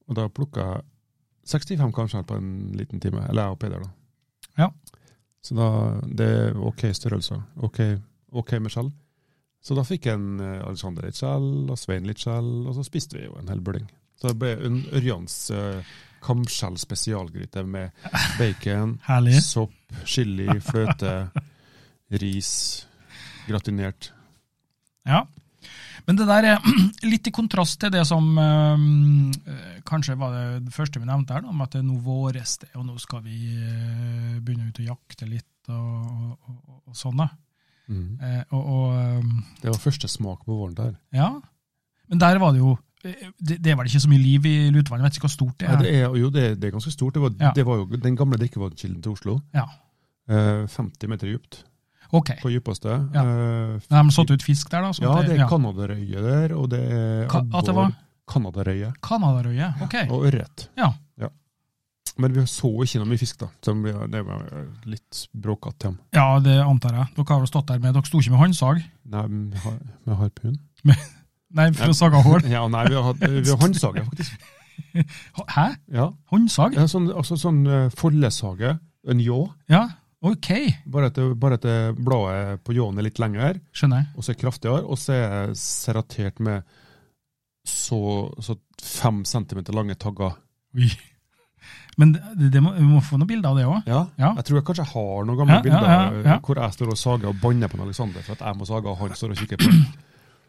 Speaker 3: Og da plukka jeg 65 kamskjell på en liten time. Eller jeg og Peder, da.
Speaker 2: Ja.
Speaker 3: Så da, det er ok størrelser. Ok, ok med skjell. Så da fikk en eh, Alexander litt skjell, og Svein litt skjell, og så spiste vi jo en hel bøling. Så det ble en Ørjans eh, kamskjell spesialgryte med bacon,
Speaker 2: Herlig.
Speaker 3: sopp, chili, fløte, ris, gratinert.
Speaker 2: Ja. Men det der er litt i kontrast til det som eh, kanskje var det første vi nevnte her, da, om at det er nå våres det, og nå skal vi eh, begynne ut og jakte litt og, og, og, og sånn. da.
Speaker 3: Mhm.
Speaker 2: Eh, og, og eh,
Speaker 3: Det var første smak på våren der.
Speaker 2: ja. Men der var det jo eh, det, det er vel ikke så mye liv i Lutvann, jeg vet ikke hvor stort det
Speaker 3: Nei,
Speaker 2: er.
Speaker 3: det er, jo, det, er- det er ganske stort. Det var,
Speaker 2: Ja.
Speaker 3: det var jo den gamle drikkevannkilden til Oslo.
Speaker 2: Ja.
Speaker 3: Eh, 50 meter dypt
Speaker 2: Ok.
Speaker 3: på dypeste.
Speaker 2: Ja.
Speaker 3: Eh,
Speaker 2: Men De har satt ut fisk der, da? sånn
Speaker 3: ja,
Speaker 2: at
Speaker 3: det er Kanadarøye der, og det er
Speaker 2: Ka- at det var-
Speaker 3: abbor, Kanadarøye
Speaker 2: Kanadarøye. Ok.
Speaker 3: og ørret.
Speaker 2: Ja.
Speaker 3: Men vi så ikke noe mye fisk, da. Så vi- det var litt bråkete til ham.
Speaker 2: Ja, det antar jeg. Dere har jo stått der med Dere sto ikke med håndsag?
Speaker 3: Nei, men vi har- med harpun.
Speaker 2: Nei, for å sage hull.
Speaker 3: Ja, nei, vi har, hatt- vi har håndsage, faktisk.
Speaker 2: Hæ?
Speaker 3: Ja.
Speaker 2: Håndsag?
Speaker 3: Ja, sånn, altså sånn eh, foldesage, en ljå.
Speaker 2: Ja, ok.
Speaker 3: Bare at, det- bare at det bladet på ljåen er litt lengre.
Speaker 2: Skjønner jeg.
Speaker 3: og så er det kraftigere, og så er det serratert med så, så fem centimeter lange tagger.
Speaker 2: Oi. Men det, det må, vi må få noen bilder av det òg.
Speaker 3: Ja.
Speaker 2: Ja.
Speaker 3: Jeg tror jeg kanskje har noen gamle
Speaker 2: Ja, ja,
Speaker 3: bilder eh,
Speaker 2: ja, ja.
Speaker 3: hvor jeg står og sager og banner på en Alexander for at jeg må sage, og han står og kikker på.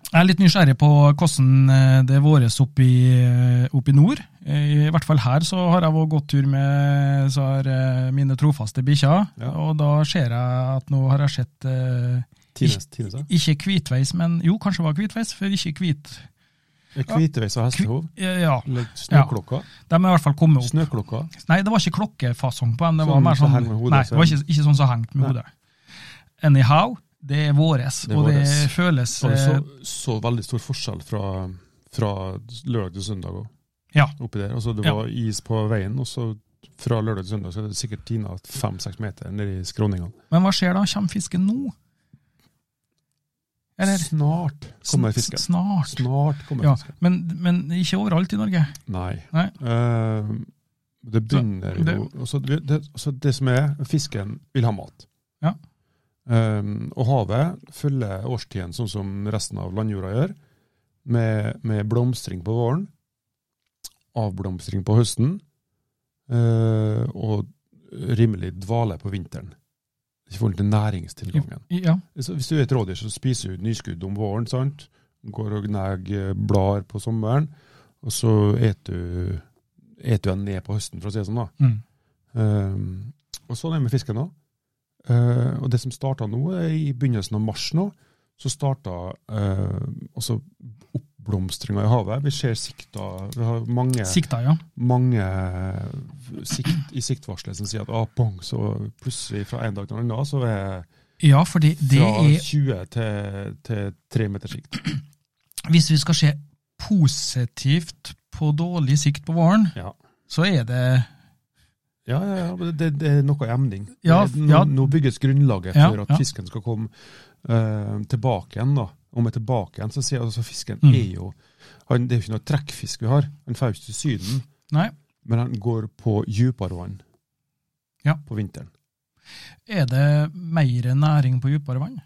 Speaker 2: Jeg er litt nysgjerrig på hvordan eh, det våres opp i, eh, opp i nord. Eh, I hvert fall her så har jeg vært gått tur med så har eh, mine trofaste bikkjer,
Speaker 3: Ja.
Speaker 2: og da ser jeg at nå har jeg sett eh,
Speaker 3: Tines, Tines, ja.
Speaker 2: ikke hvitveis, men jo, kanskje det var hvitveis, for ikke hvit
Speaker 3: Hviteveis Eh, og hestehov.
Speaker 2: eh, Ja,
Speaker 3: eller Snøklokka.
Speaker 2: de har i hvert fall kommet opp.
Speaker 3: Snøklokka.
Speaker 2: Nei, det var ikke klokkefasong på dem, det var
Speaker 3: Sånn
Speaker 2: mer
Speaker 3: som
Speaker 2: sånn
Speaker 3: henger med hodet,
Speaker 2: Nei,
Speaker 3: så-
Speaker 2: det var ikke, ikke sånn som hengt med
Speaker 3: Nei.
Speaker 2: hodet. Anyhow, det er våres,
Speaker 3: Det er
Speaker 2: og det
Speaker 3: våres.
Speaker 2: føles
Speaker 3: Så vi så,
Speaker 2: eh,
Speaker 3: så veldig stor forskjell fra, fra lørdag til søndag også.
Speaker 2: Ja.
Speaker 3: Oppi der. Altså, det
Speaker 2: Ja.
Speaker 3: var is på veien, og så fra lørdag til søndag så er det sikkert tina fem-seks meter nedi skråningene.
Speaker 2: Men hva skjer da? Kommer fisken nå? Eller
Speaker 3: Snart kommer fisken.
Speaker 2: sn- Snart.
Speaker 3: Snart kommer
Speaker 2: Ja,
Speaker 3: fisken.
Speaker 2: men, men ikke overalt i Norge.
Speaker 3: Nei.
Speaker 2: Nei.
Speaker 3: Eh, det begynner
Speaker 2: Så, det-
Speaker 3: jo altså, det, det, altså, det som er, fisken vil ha mat.
Speaker 2: Ja.
Speaker 3: Eh, og havet følger årstiden sånn som resten av landjorda gjør, med, med blomstring på våren, avblomstring på høsten, eh, og rimelig dvale på vinteren. I forhold til næringstilgangen.
Speaker 2: I- Ja.
Speaker 3: Så Hvis du er et rådyr, så spiser du nyskudd om våren, sant? Går og gnager blader på sommeren, og så eter du, et du den ned på høsten, for å si det sånn. da.
Speaker 2: Mm.
Speaker 3: Ehm, og sånn er det med fisken nå. og det som starta nå, er i begynnelsen av mars nå, så starta altså oppblomstringa i havet. Vi ser sikta Vi har mange,
Speaker 2: Sikta, ja.
Speaker 3: mange sikt, i siktvarselet som sier at ah, bong, så plutselig fra en dag til en annen så er
Speaker 2: Ja, fordi det
Speaker 3: fra
Speaker 2: er
Speaker 3: 20 til, til 3 meters sikt.
Speaker 2: Hvis vi skal se positivt på dårlig sikt på våren,
Speaker 3: Ja.
Speaker 2: så er det
Speaker 3: Ja, ja, ja, men det, det er noe emning.
Speaker 2: Ja,
Speaker 3: Det er- nå,
Speaker 2: ja.
Speaker 3: nå bygges grunnlaget
Speaker 2: Ja,
Speaker 3: for at
Speaker 2: ja.
Speaker 3: fisken skal komme eh, tilbake igjen. da. Om jeg er tilbake igjen, så sier jeg altså fisken
Speaker 2: Mm.
Speaker 3: er jo han, Det er jo ikke noe trekkfisk vi har. Han faus til Syden,
Speaker 2: Nei.
Speaker 3: men han går på dypere vann
Speaker 2: Ja.
Speaker 3: på vinteren.
Speaker 2: Er det mer næring på dypere vann?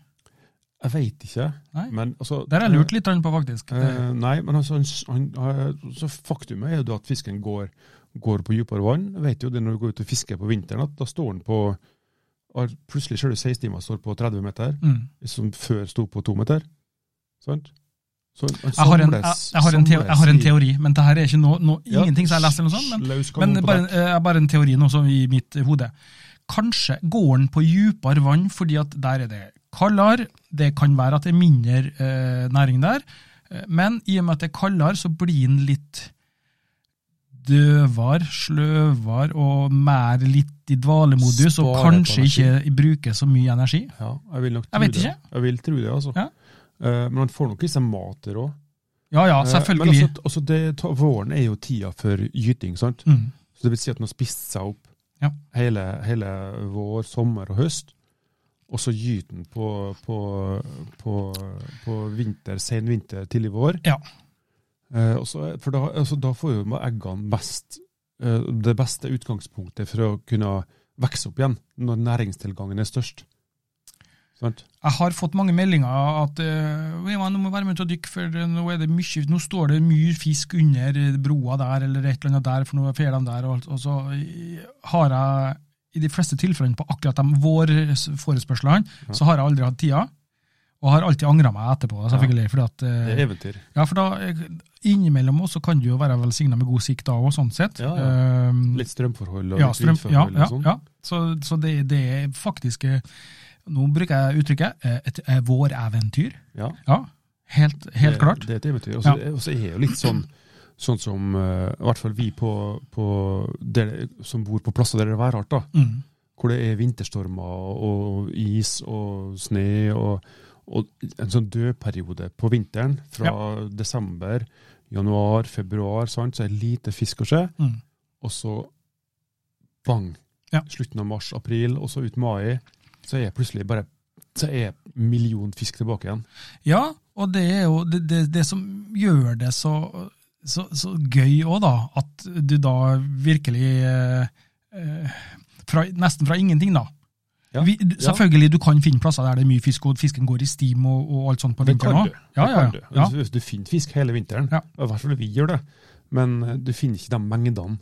Speaker 3: Jeg veit ikke,
Speaker 2: Nei.
Speaker 3: men altså
Speaker 2: Der har jeg lurt litt på, faktisk. Det,
Speaker 3: Eh, nei, men altså, han, han, eh, så faktum er jo da at fisken går, går på dypere vann. Jeg vet jo det når du går ut og fisker på vinteren, at da står den på har- Plutselig ser du 16-timer står på 30 meter,
Speaker 2: mm.
Speaker 3: som før sto på 2 meter. Sant? Så han- han
Speaker 2: jeg, har en,
Speaker 3: samles-
Speaker 2: jeg, jeg, har en teo, jeg har en teori, men det her er ikke noe- noe-
Speaker 3: Ja,
Speaker 2: ingenting som jeg leser, eller noe sånt, men
Speaker 3: løs kanon
Speaker 2: Men
Speaker 3: på
Speaker 2: bare,
Speaker 3: dekk.
Speaker 2: eh, bare en teori nå som i mitt hode. Kanskje går den på djupere vann fordi at der er det kaldere, det kan være at det er mindre eh, næring der, eh, men i og med at det er kaldere, så blir den litt døvere, sløvere og mer litt i dvalemodus, og
Speaker 3: Sparer
Speaker 2: kanskje
Speaker 3: litt energi.
Speaker 2: ikke bruker så mye energi.
Speaker 3: Ja, jeg vil nok
Speaker 2: Jeg
Speaker 3: tro
Speaker 2: vet
Speaker 3: det.
Speaker 2: ikke.
Speaker 3: Jeg vil tro det, altså.
Speaker 2: Ja.
Speaker 3: Eh, men han får nok i seg mat der òg.
Speaker 2: Ja ja, selvfølgelig.
Speaker 3: Men altså, altså det, ta- våren er jo tida for gyting, sant?
Speaker 2: Mm.
Speaker 3: Så det vil si at den har spist seg opp
Speaker 2: Ja.
Speaker 3: hele, hele vår, sommer og høst. Og så gyter den på, på, på, på vinter, sen vinter, tidlig vår.
Speaker 2: Ja.
Speaker 3: Eh, og så- for da, altså, da får jo eggene best, eh, det beste utgangspunktet for å kunne vokse opp igjen, når næringstilgangen er størst. Sant?
Speaker 2: Jeg har fått mange meldinger at eh, «Oi, man, nå må være med ut og dykke, for nå, er det mye, nå står det mye fisk under broa der, eller et eller annet der, for nå er ferien der. Og, alt». og så eh, har jeg i de fleste tilfellene på akkurat de vårforespørslene,
Speaker 3: Ja.
Speaker 2: så har jeg aldri hatt tida. Og har alltid angra meg etterpå, da, selvfølgelig. Fordi at, eh,
Speaker 3: Det er eventyr.
Speaker 2: ja, for da, eh, Innimellom også kan du jo være velsigna med god sikt da òg, sånn sett.
Speaker 3: Ja, ja.
Speaker 2: Eh,
Speaker 3: Litt strømforhold og
Speaker 2: ja,
Speaker 3: litt
Speaker 2: strøm, ja,
Speaker 3: vindforhold
Speaker 2: ja,
Speaker 3: og sånn.
Speaker 2: ja. Så, så det, det er faktisk eh, Nå bruker jeg uttrykket eh, et eh, våreventyr.
Speaker 3: Ja.
Speaker 2: Ja, helt, helt
Speaker 3: det,
Speaker 2: klart.
Speaker 3: Det er et eventyr. Og
Speaker 2: Ja.
Speaker 3: så og så er det jo litt sånn, sånn som eh, i hvert fall vi på, på dere som bor på plasser der det er værhardt, da,
Speaker 2: Mm.
Speaker 3: hvor det er vinterstormer og is og snø og, og en sånn dødperiode på vinteren fra desember, januar, februar, sant, så er det lite fisk å se,
Speaker 2: Mm.
Speaker 3: og så bang,
Speaker 2: Ja.
Speaker 3: slutten av mars, april, og så ut mai, så er plutselig bare så er million fisk tilbake igjen.
Speaker 2: Ja, og det er jo det, det, det som gjør det så, så, så gøy òg, da. At du da virkelig eh, eh, fra, Nesten fra ingenting, da.
Speaker 3: Ja,
Speaker 2: Vi, du,
Speaker 3: ja.
Speaker 2: Selvfølgelig, du kan finne plasser der det er mye fisk, og fisken går i stim og, og alt sånt på
Speaker 3: Det
Speaker 2: vinteren
Speaker 3: kan
Speaker 2: òg.
Speaker 3: du.
Speaker 2: Ja,
Speaker 3: Det
Speaker 2: ja,
Speaker 3: kan
Speaker 2: ja.
Speaker 3: du. Altså,
Speaker 2: ja.
Speaker 3: Du, du finner fisk hele vinteren.
Speaker 2: Ja.
Speaker 3: I hvert fall vi gjør det. Men eh, du finner ikke de mengdene.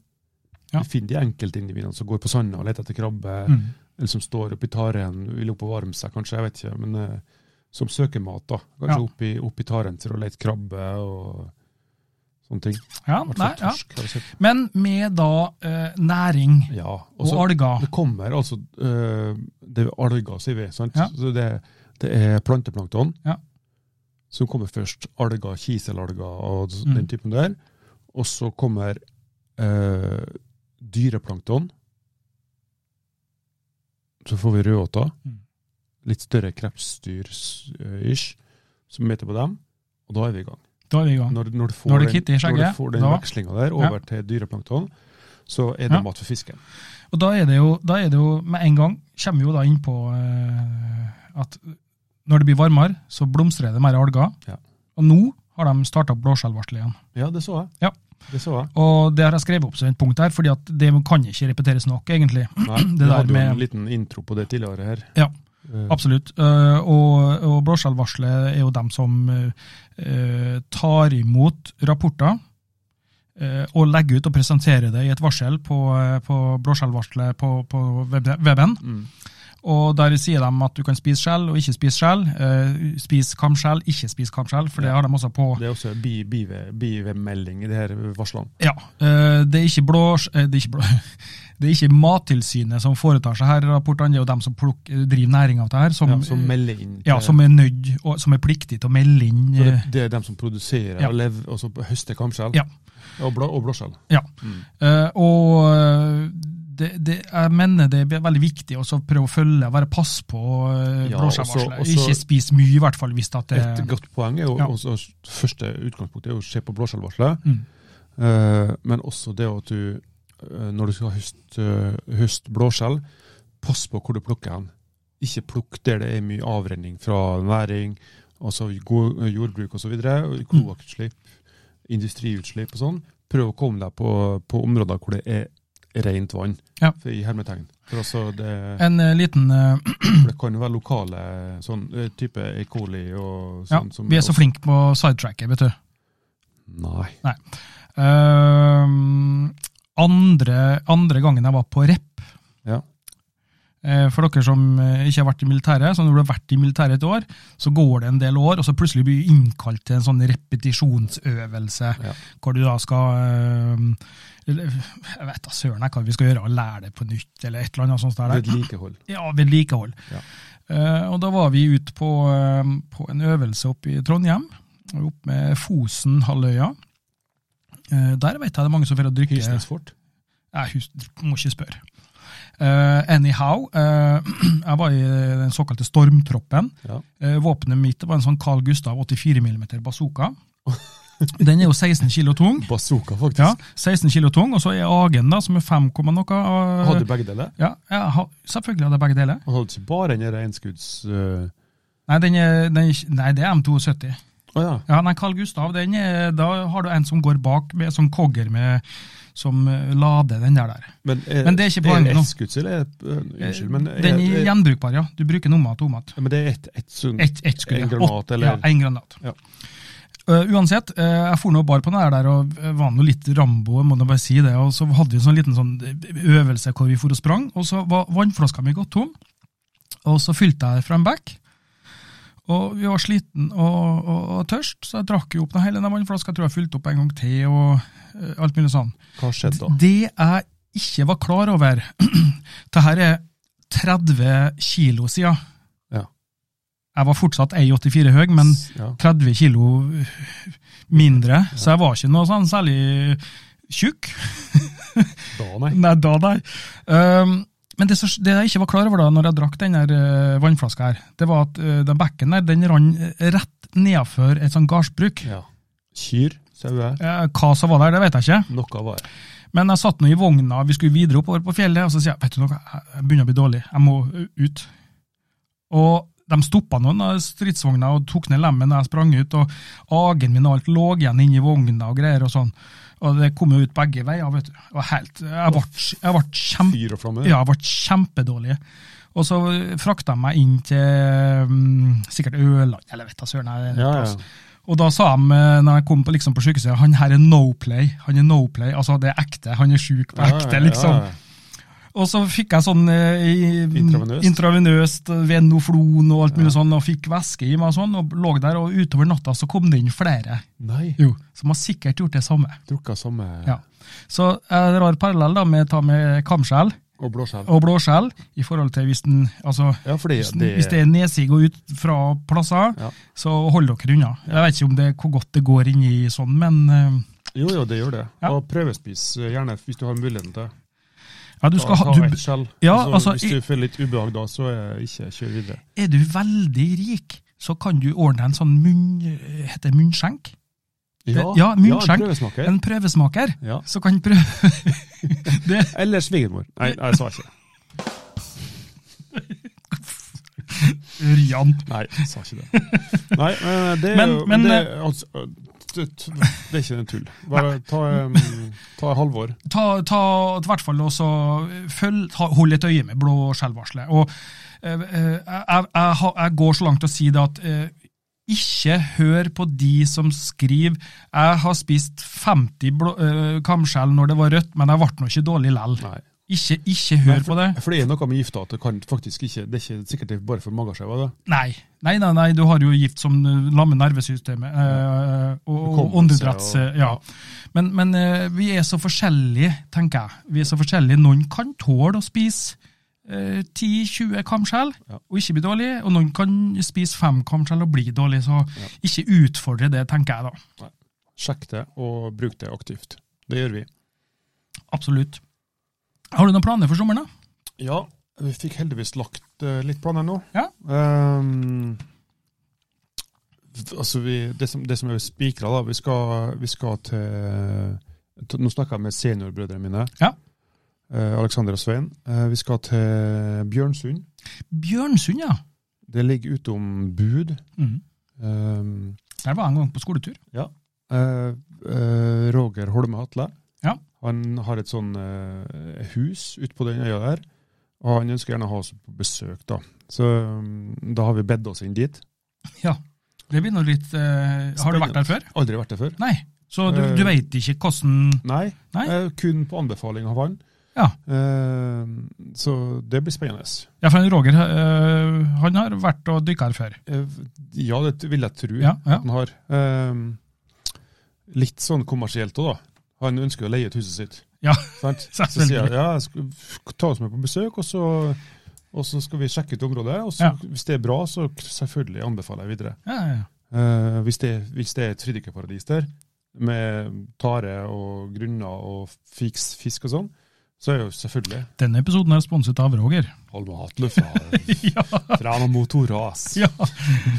Speaker 2: Ja.
Speaker 3: Du finner de enkeltindividene som går på sanda og leter etter krabbe,
Speaker 2: Mm.
Speaker 3: eller som står oppi taren vil opp og varme seg, kanskje. Jeg vet ikke. Men eh, som søker mat, da. Kanskje
Speaker 2: Ja.
Speaker 3: oppi, oppi taren for å lete krabbe og sånne ting.
Speaker 2: ja
Speaker 3: I hvert
Speaker 2: nei,
Speaker 3: fall
Speaker 2: ja.
Speaker 3: torsk. har jeg sett.
Speaker 2: Men med da eh, næring
Speaker 3: Ja.
Speaker 2: og
Speaker 3: Og så
Speaker 2: alger.
Speaker 3: det kommer altså eh, Det er alger, sier vi. sant?
Speaker 2: Ja.
Speaker 3: Så det, det er planteplankton
Speaker 2: Ja.
Speaker 3: som kommer først. Alger, kiselalger og s-
Speaker 2: Mm.
Speaker 3: den typen der. Og så kommer eh, dyreplankton. Så får vi rødåta.
Speaker 2: Mm.
Speaker 3: Litt større krepsdyr-ish, som heter på dem. Og da er vi i gang.
Speaker 2: Da er vi i gang.
Speaker 3: Når, når du får
Speaker 2: Når det kitter i
Speaker 3: den, når
Speaker 2: skjegget,
Speaker 3: du får den
Speaker 2: da-
Speaker 3: vekslinga der
Speaker 2: Ja.
Speaker 3: over til dyreplankton, så er det
Speaker 2: Ja.
Speaker 3: mat for fisken.
Speaker 2: Og da er det jo, da er det jo med en gang kommer vi jo da inn på eh, at når det blir varmere, så blomstrer det mer alger.
Speaker 3: Ja.
Speaker 2: Og nå har de starta blåskjellvarselet igjen.
Speaker 3: Ja, det så jeg.
Speaker 2: Ja.
Speaker 3: Det så jeg.
Speaker 2: Og det har jeg skrevet opp som et punkt her, fordi at det kan ikke repeteres nok, egentlig.
Speaker 3: Nei,
Speaker 2: Det
Speaker 3: vi
Speaker 2: der
Speaker 3: hadde jo
Speaker 2: med-
Speaker 3: en liten intro på det tidligere her.
Speaker 2: Ja.
Speaker 3: Eh,
Speaker 2: Absolutt. Eh, og og blåskjellvarselet er jo dem som eh, tar imot rapporter eh, og legger ut og presenterer det i et varsel på, eh, på blåskjellvarselet på, på web- weben.
Speaker 3: Mm.
Speaker 2: Og der sier de at du kan spise skjell og ikke spise skjell. Eh, spis kamskjell, ikke spis kamskjell, for det har de også på.
Speaker 3: Det er også en bi- bive- bivmelding i det her varslene.
Speaker 2: Ja, eh, det er ikke blå, eh, det er ikke blå det er ikke Mattilsynet som foretar seg her rapportene, det er jo dem som plukk- driver næring av det her, som,
Speaker 3: Ja, som melder inn. til-
Speaker 2: ja, som er nødt og som er pliktig til å melde inn.
Speaker 3: Eh. Så det,
Speaker 2: eh,
Speaker 3: det er dem som produserer
Speaker 2: Ja.
Speaker 3: og, lever, og så høster kamskjell
Speaker 2: Ja.
Speaker 3: og, blå, og blåskjell.
Speaker 2: Ja.
Speaker 3: Mm.
Speaker 2: Eh, og eh, det, det, jeg mener det er veldig viktig også å prøve å følge, være pass på eh,
Speaker 3: Ja,
Speaker 2: blåskjellvarselet.
Speaker 3: også- også-
Speaker 2: Ikke spis mye, i hvert fall hvis at det
Speaker 3: Et godt poeng er jo
Speaker 2: Ja.
Speaker 3: også, første utgangspunktet er jo å se på blåskjellvarselet,
Speaker 2: Mm.
Speaker 3: eh, men også det at du eh, når du skal høste, eh, høste blåskjell, pass på hvor du plukker hen. Ikke plukk der det er mye avrenning fra næring, altså go- jordbruk osv.,
Speaker 2: Mm.
Speaker 3: kloakkutslipp, industriutslipp og sånn. Prøv å komme deg på, på områder hvor det er rent vann,
Speaker 2: Ja.
Speaker 3: for- i hermetegn. For altså det,
Speaker 2: En eh, liten eh,
Speaker 3: for det kan jo være lokale sånn eh, type E. coli og
Speaker 2: Ja,
Speaker 3: sånn som
Speaker 2: vi er så flinke på sidetracker, vet du.
Speaker 3: Nei.
Speaker 2: Ehm, andre, andre gangen jeg var på rep,
Speaker 3: Ja.
Speaker 2: eh, for dere som eh, ikke har vært i militæret, så når du har vært i militæret et år, så går det en del år, og så plutselig blir du innkalt til en sånn repetisjonsøvelse,
Speaker 3: Ja.
Speaker 2: hvor du da skal ehm, eller, Jeg vet da søren jeg hva vi skal gjøre, lære det på nytt, eller et eller annet sånt. der.
Speaker 3: Vedlikehold.
Speaker 2: Ja, vedlikehold.
Speaker 3: Ja.
Speaker 2: Eh, og da var vi ute på, eh, på en øvelse oppe i Trondheim, oppe med Fosenhalvøya. Eh, der vet jeg det er mange som får å drikke
Speaker 3: Hilsnesfort.
Speaker 2: Nei, hus, må ikke spørre. Eh, anyhow, eh, jeg var i den såkalte stormtroppen.
Speaker 3: Ja.
Speaker 2: Eh, våpenet mitt var en sånn Carl Gustav 84 mm bazooka. Den er jo 16 kilo tung.
Speaker 3: Bazooka, faktisk.
Speaker 2: Ja, 16 kilo tung, og så er Agen, da, som er 5, komma noe. eh,
Speaker 3: Hadde du begge deler?
Speaker 2: ja, jeg har- selvfølgelig hadde jeg begge deler.
Speaker 3: Han hadde ikke bare den enskudds... Å
Speaker 2: Nei, den er, den er, ikke- nei det er M72.
Speaker 3: ja.
Speaker 2: Ja, nei, Carl Gustav, den er, da har du en som går bak med sånn kogger med, som eh, lader den der. der.
Speaker 3: Men, er,
Speaker 2: Men det er ikke poenget nå.
Speaker 3: Eskuds, eller? er- eh, Unnskyld, men er,
Speaker 2: den er
Speaker 3: er,
Speaker 2: gjenbrukbar, ja. Du bruker den om igjen og om igjen.
Speaker 3: men det er ett et sunn
Speaker 2: Ett et skudd.
Speaker 3: En
Speaker 2: ja.
Speaker 3: granat,
Speaker 2: Åt-
Speaker 3: eller-
Speaker 2: Ja, en granat.
Speaker 3: Ja.
Speaker 2: Eh, uansett, eh, jeg for nå og bar på den her der, og eh, var nå litt Rambo, jeg må nå bare si det. Og så hadde vi en sånn liten sånn eh, øvelse hvor vi for og sprang, og så var vannflaska mi gått tom. Og så fylte jeg fra en bekk. Og vi var sliten og, og, og tørst, så jeg drakk jo opp den hele den vannflaska. Jeg tror jeg fylte opp en gang til, og eh, alt mulig sånn.
Speaker 3: Hva skjedde da?
Speaker 2: Det jeg ikke var klar over Dette her er 30 kilo siden.
Speaker 3: Ja.
Speaker 2: Jeg var fortsatt 1,84 høy, men
Speaker 3: ja.
Speaker 2: 30 kilo mindre, så jeg var ikke noe sånn særlig tjukk.
Speaker 3: Da, nei.
Speaker 2: Nei, da, nei. Ehm, men det, som- det jeg ikke var klar over da når jeg drakk den her eh, vannflaska, her, det var at eh, den bekken der, den rann eh, rett nedfor et sånt gardsbruk.
Speaker 3: Ja. Kyr, sauer,
Speaker 2: Eh, Hva som var der, det vet jeg ikke.
Speaker 3: noe var det.
Speaker 2: Men jeg satt nå i vogna, vi skulle videre oppover på fjellet, og så sier jeg vet du noe, jeg begynner å bli dårlig, jeg må ø, ut. Og de stoppa noen av stridsvogna og tok ned lemmen da jeg sprang ut, og agen min og alt lå igjen inni vogna og greier og sånn. Og det kom jo ut begge veier, vet du. Det var helt, jeg ble, jeg ble, kjempe,
Speaker 3: Fyr og flamme.
Speaker 2: ja, jeg ble kjempedårlig. Og så frakta de meg inn til mm, sikkert Ørland, eller vet da søren. jeg er en
Speaker 3: ja.
Speaker 2: plass.
Speaker 3: ja.
Speaker 2: Og da sa de, eh, når jeg kom på, liksom, på sykehuset, han her er no play. Han er no play, altså det er ekte. Han er sjuk på
Speaker 3: Ja, ja,
Speaker 2: ekte, liksom.
Speaker 3: ja.
Speaker 2: Og så fikk jeg sånn eh, i-
Speaker 3: Intravenøst.
Speaker 2: intravenøst eh, venoflon og alt mulig sånn, og fikk væske i meg og sånn, og lå der, og utover natta så kom det inn flere.
Speaker 3: Nei,
Speaker 2: Jo, som har sikkert gjort det samme.
Speaker 3: drukket samme
Speaker 2: Ja. Så eh, jeg drar parallell da med å ta med kamskjell
Speaker 3: og blåskjell.
Speaker 2: og blåskjell, i forhold til hvis den, altså,
Speaker 3: Ja, fordi
Speaker 2: hvis, den,
Speaker 3: det,
Speaker 2: hvis det er nedsig og ut fra plasser,
Speaker 3: Ja.
Speaker 2: så hold dere unna. Jeg vet ikke om det, hvor godt det går inn i sånn, men eh,
Speaker 3: Jo, jo, det gjør det.
Speaker 2: Ja.
Speaker 3: Og prøvespis eh, gjerne hvis du har muligheten til.
Speaker 2: ja, du
Speaker 3: Ta,
Speaker 2: skal ha,
Speaker 3: ta
Speaker 2: du,
Speaker 3: et skjell.
Speaker 2: Ja,
Speaker 3: Og så
Speaker 2: altså,
Speaker 3: hvis du får litt ubehag da, så eh, ikke kjør videre.
Speaker 2: er du veldig rik, så kan du ordne en sånn munn, heter det munnskjenk? Ja, munnskjenk.
Speaker 3: Ja, prøvesmaker.
Speaker 2: En prøvesmaker,
Speaker 3: Ja.
Speaker 2: så kan prøve... det,
Speaker 3: Eller svigermor. Nei, nei, jeg sa ikke
Speaker 2: Ørjan.
Speaker 3: Nei, jeg sa ikke det. Nei, men eh, det er
Speaker 2: Men-
Speaker 3: jo
Speaker 2: men,
Speaker 3: det, er, altså, det, det er ikke en tull. Bare ta, um, ta Halvor.
Speaker 2: ta, ta i hvert fall også følg, ta, hold et øye med blå skjellvarselet. Og eh, eh, jeg, jeg, har- jeg går så langt til å si det at eh, ikke hør på de som skriver 'jeg har spist 50 blå, eh, kamskjell når det var rødt, men jeg ble nå ikke dårlig lell'.
Speaker 3: Nei.
Speaker 2: Ikke, ikke hør på det.
Speaker 3: For det er noe med gifta at det kan faktisk ikke Det er ikke sikkert det er bare for mageskjeva. det.
Speaker 2: Nei. Nei, nei, nei, du har jo gift som eh, lammer nervesystemet eh, og og
Speaker 3: Hukommelse
Speaker 2: åndedretts... eh,
Speaker 3: og-
Speaker 2: Ja. Men, men eh, vi er så forskjellige, tenker jeg. Vi er så forskjellige. Noen kan tåle å spise eh, 10-20 kamskjell
Speaker 3: Ja.
Speaker 2: og ikke bli dårlig, og noen kan spise 5 kamskjell og bli dårlig, så ikke utfordre det, tenker jeg da.
Speaker 3: Sjekk det, og bruk det aktivt. Det gjør vi.
Speaker 2: Absolutt. Har du noen planer for sommeren, da?
Speaker 3: Ja, vi fikk heldigvis lagt eh, litt planer nå.
Speaker 2: Ja.
Speaker 3: Ehm, altså vi, det, som, det som er spikra, da Vi skal, vi skal til, til Nå snakker jeg med seniorbrødrene mine.
Speaker 2: Ja.
Speaker 3: eh, Alexander og Svein. Eh, vi skal til Bjørnsund.
Speaker 2: Bjørnsund, ja.
Speaker 3: Det ligger utom Bud.
Speaker 2: Mm.
Speaker 3: Um,
Speaker 2: Der var jeg en gang på skoletur.
Speaker 3: eh, eh, Roger Holme Hatle.
Speaker 2: Ja.
Speaker 3: Han har et sånn eh, hus ute på den øya der, og han ønsker gjerne å ha oss på besøk. Da Så um, da har vi bedt oss inn dit.
Speaker 2: Det blir nå litt eh, Har du vært der før?
Speaker 3: Aldri vært der før.
Speaker 2: Nei. Så du, du
Speaker 3: Eh.
Speaker 2: veit ikke hvordan
Speaker 3: Nei,
Speaker 2: Nei.
Speaker 3: eh, kun på anbefaling av han.
Speaker 2: Ja.
Speaker 3: Eh, så det blir spennende.
Speaker 2: Ja, for han Roger eh, han har vært og dykka her før.
Speaker 3: Eh, ja, det vil jeg tro.
Speaker 2: Ja, ja.
Speaker 3: at han har. Ehm, litt sånn kommersielt òg, da. Han ønsker å leie ut huset sitt.
Speaker 2: Ja,
Speaker 3: Sant? Så
Speaker 2: selvfølgelig.
Speaker 3: sier jeg ja, jeg skal f- ta oss med på besøk, og så, og så skal vi sjekke ut området. Og så,
Speaker 2: Ja.
Speaker 3: hvis det er bra, så k- selvfølgelig anbefaler jeg videre.
Speaker 2: Ja, ja, ja.
Speaker 3: Eh, hvis, det, hvis det er et fridykkerparadis der, med tare og grunner og fiks, fisk og sånn, så er det jo selvfølgelig
Speaker 2: Denne episoden er sponset av Roger.
Speaker 3: Alma Hatløffa,
Speaker 2: ja,
Speaker 3: Træna motoras.
Speaker 2: ja.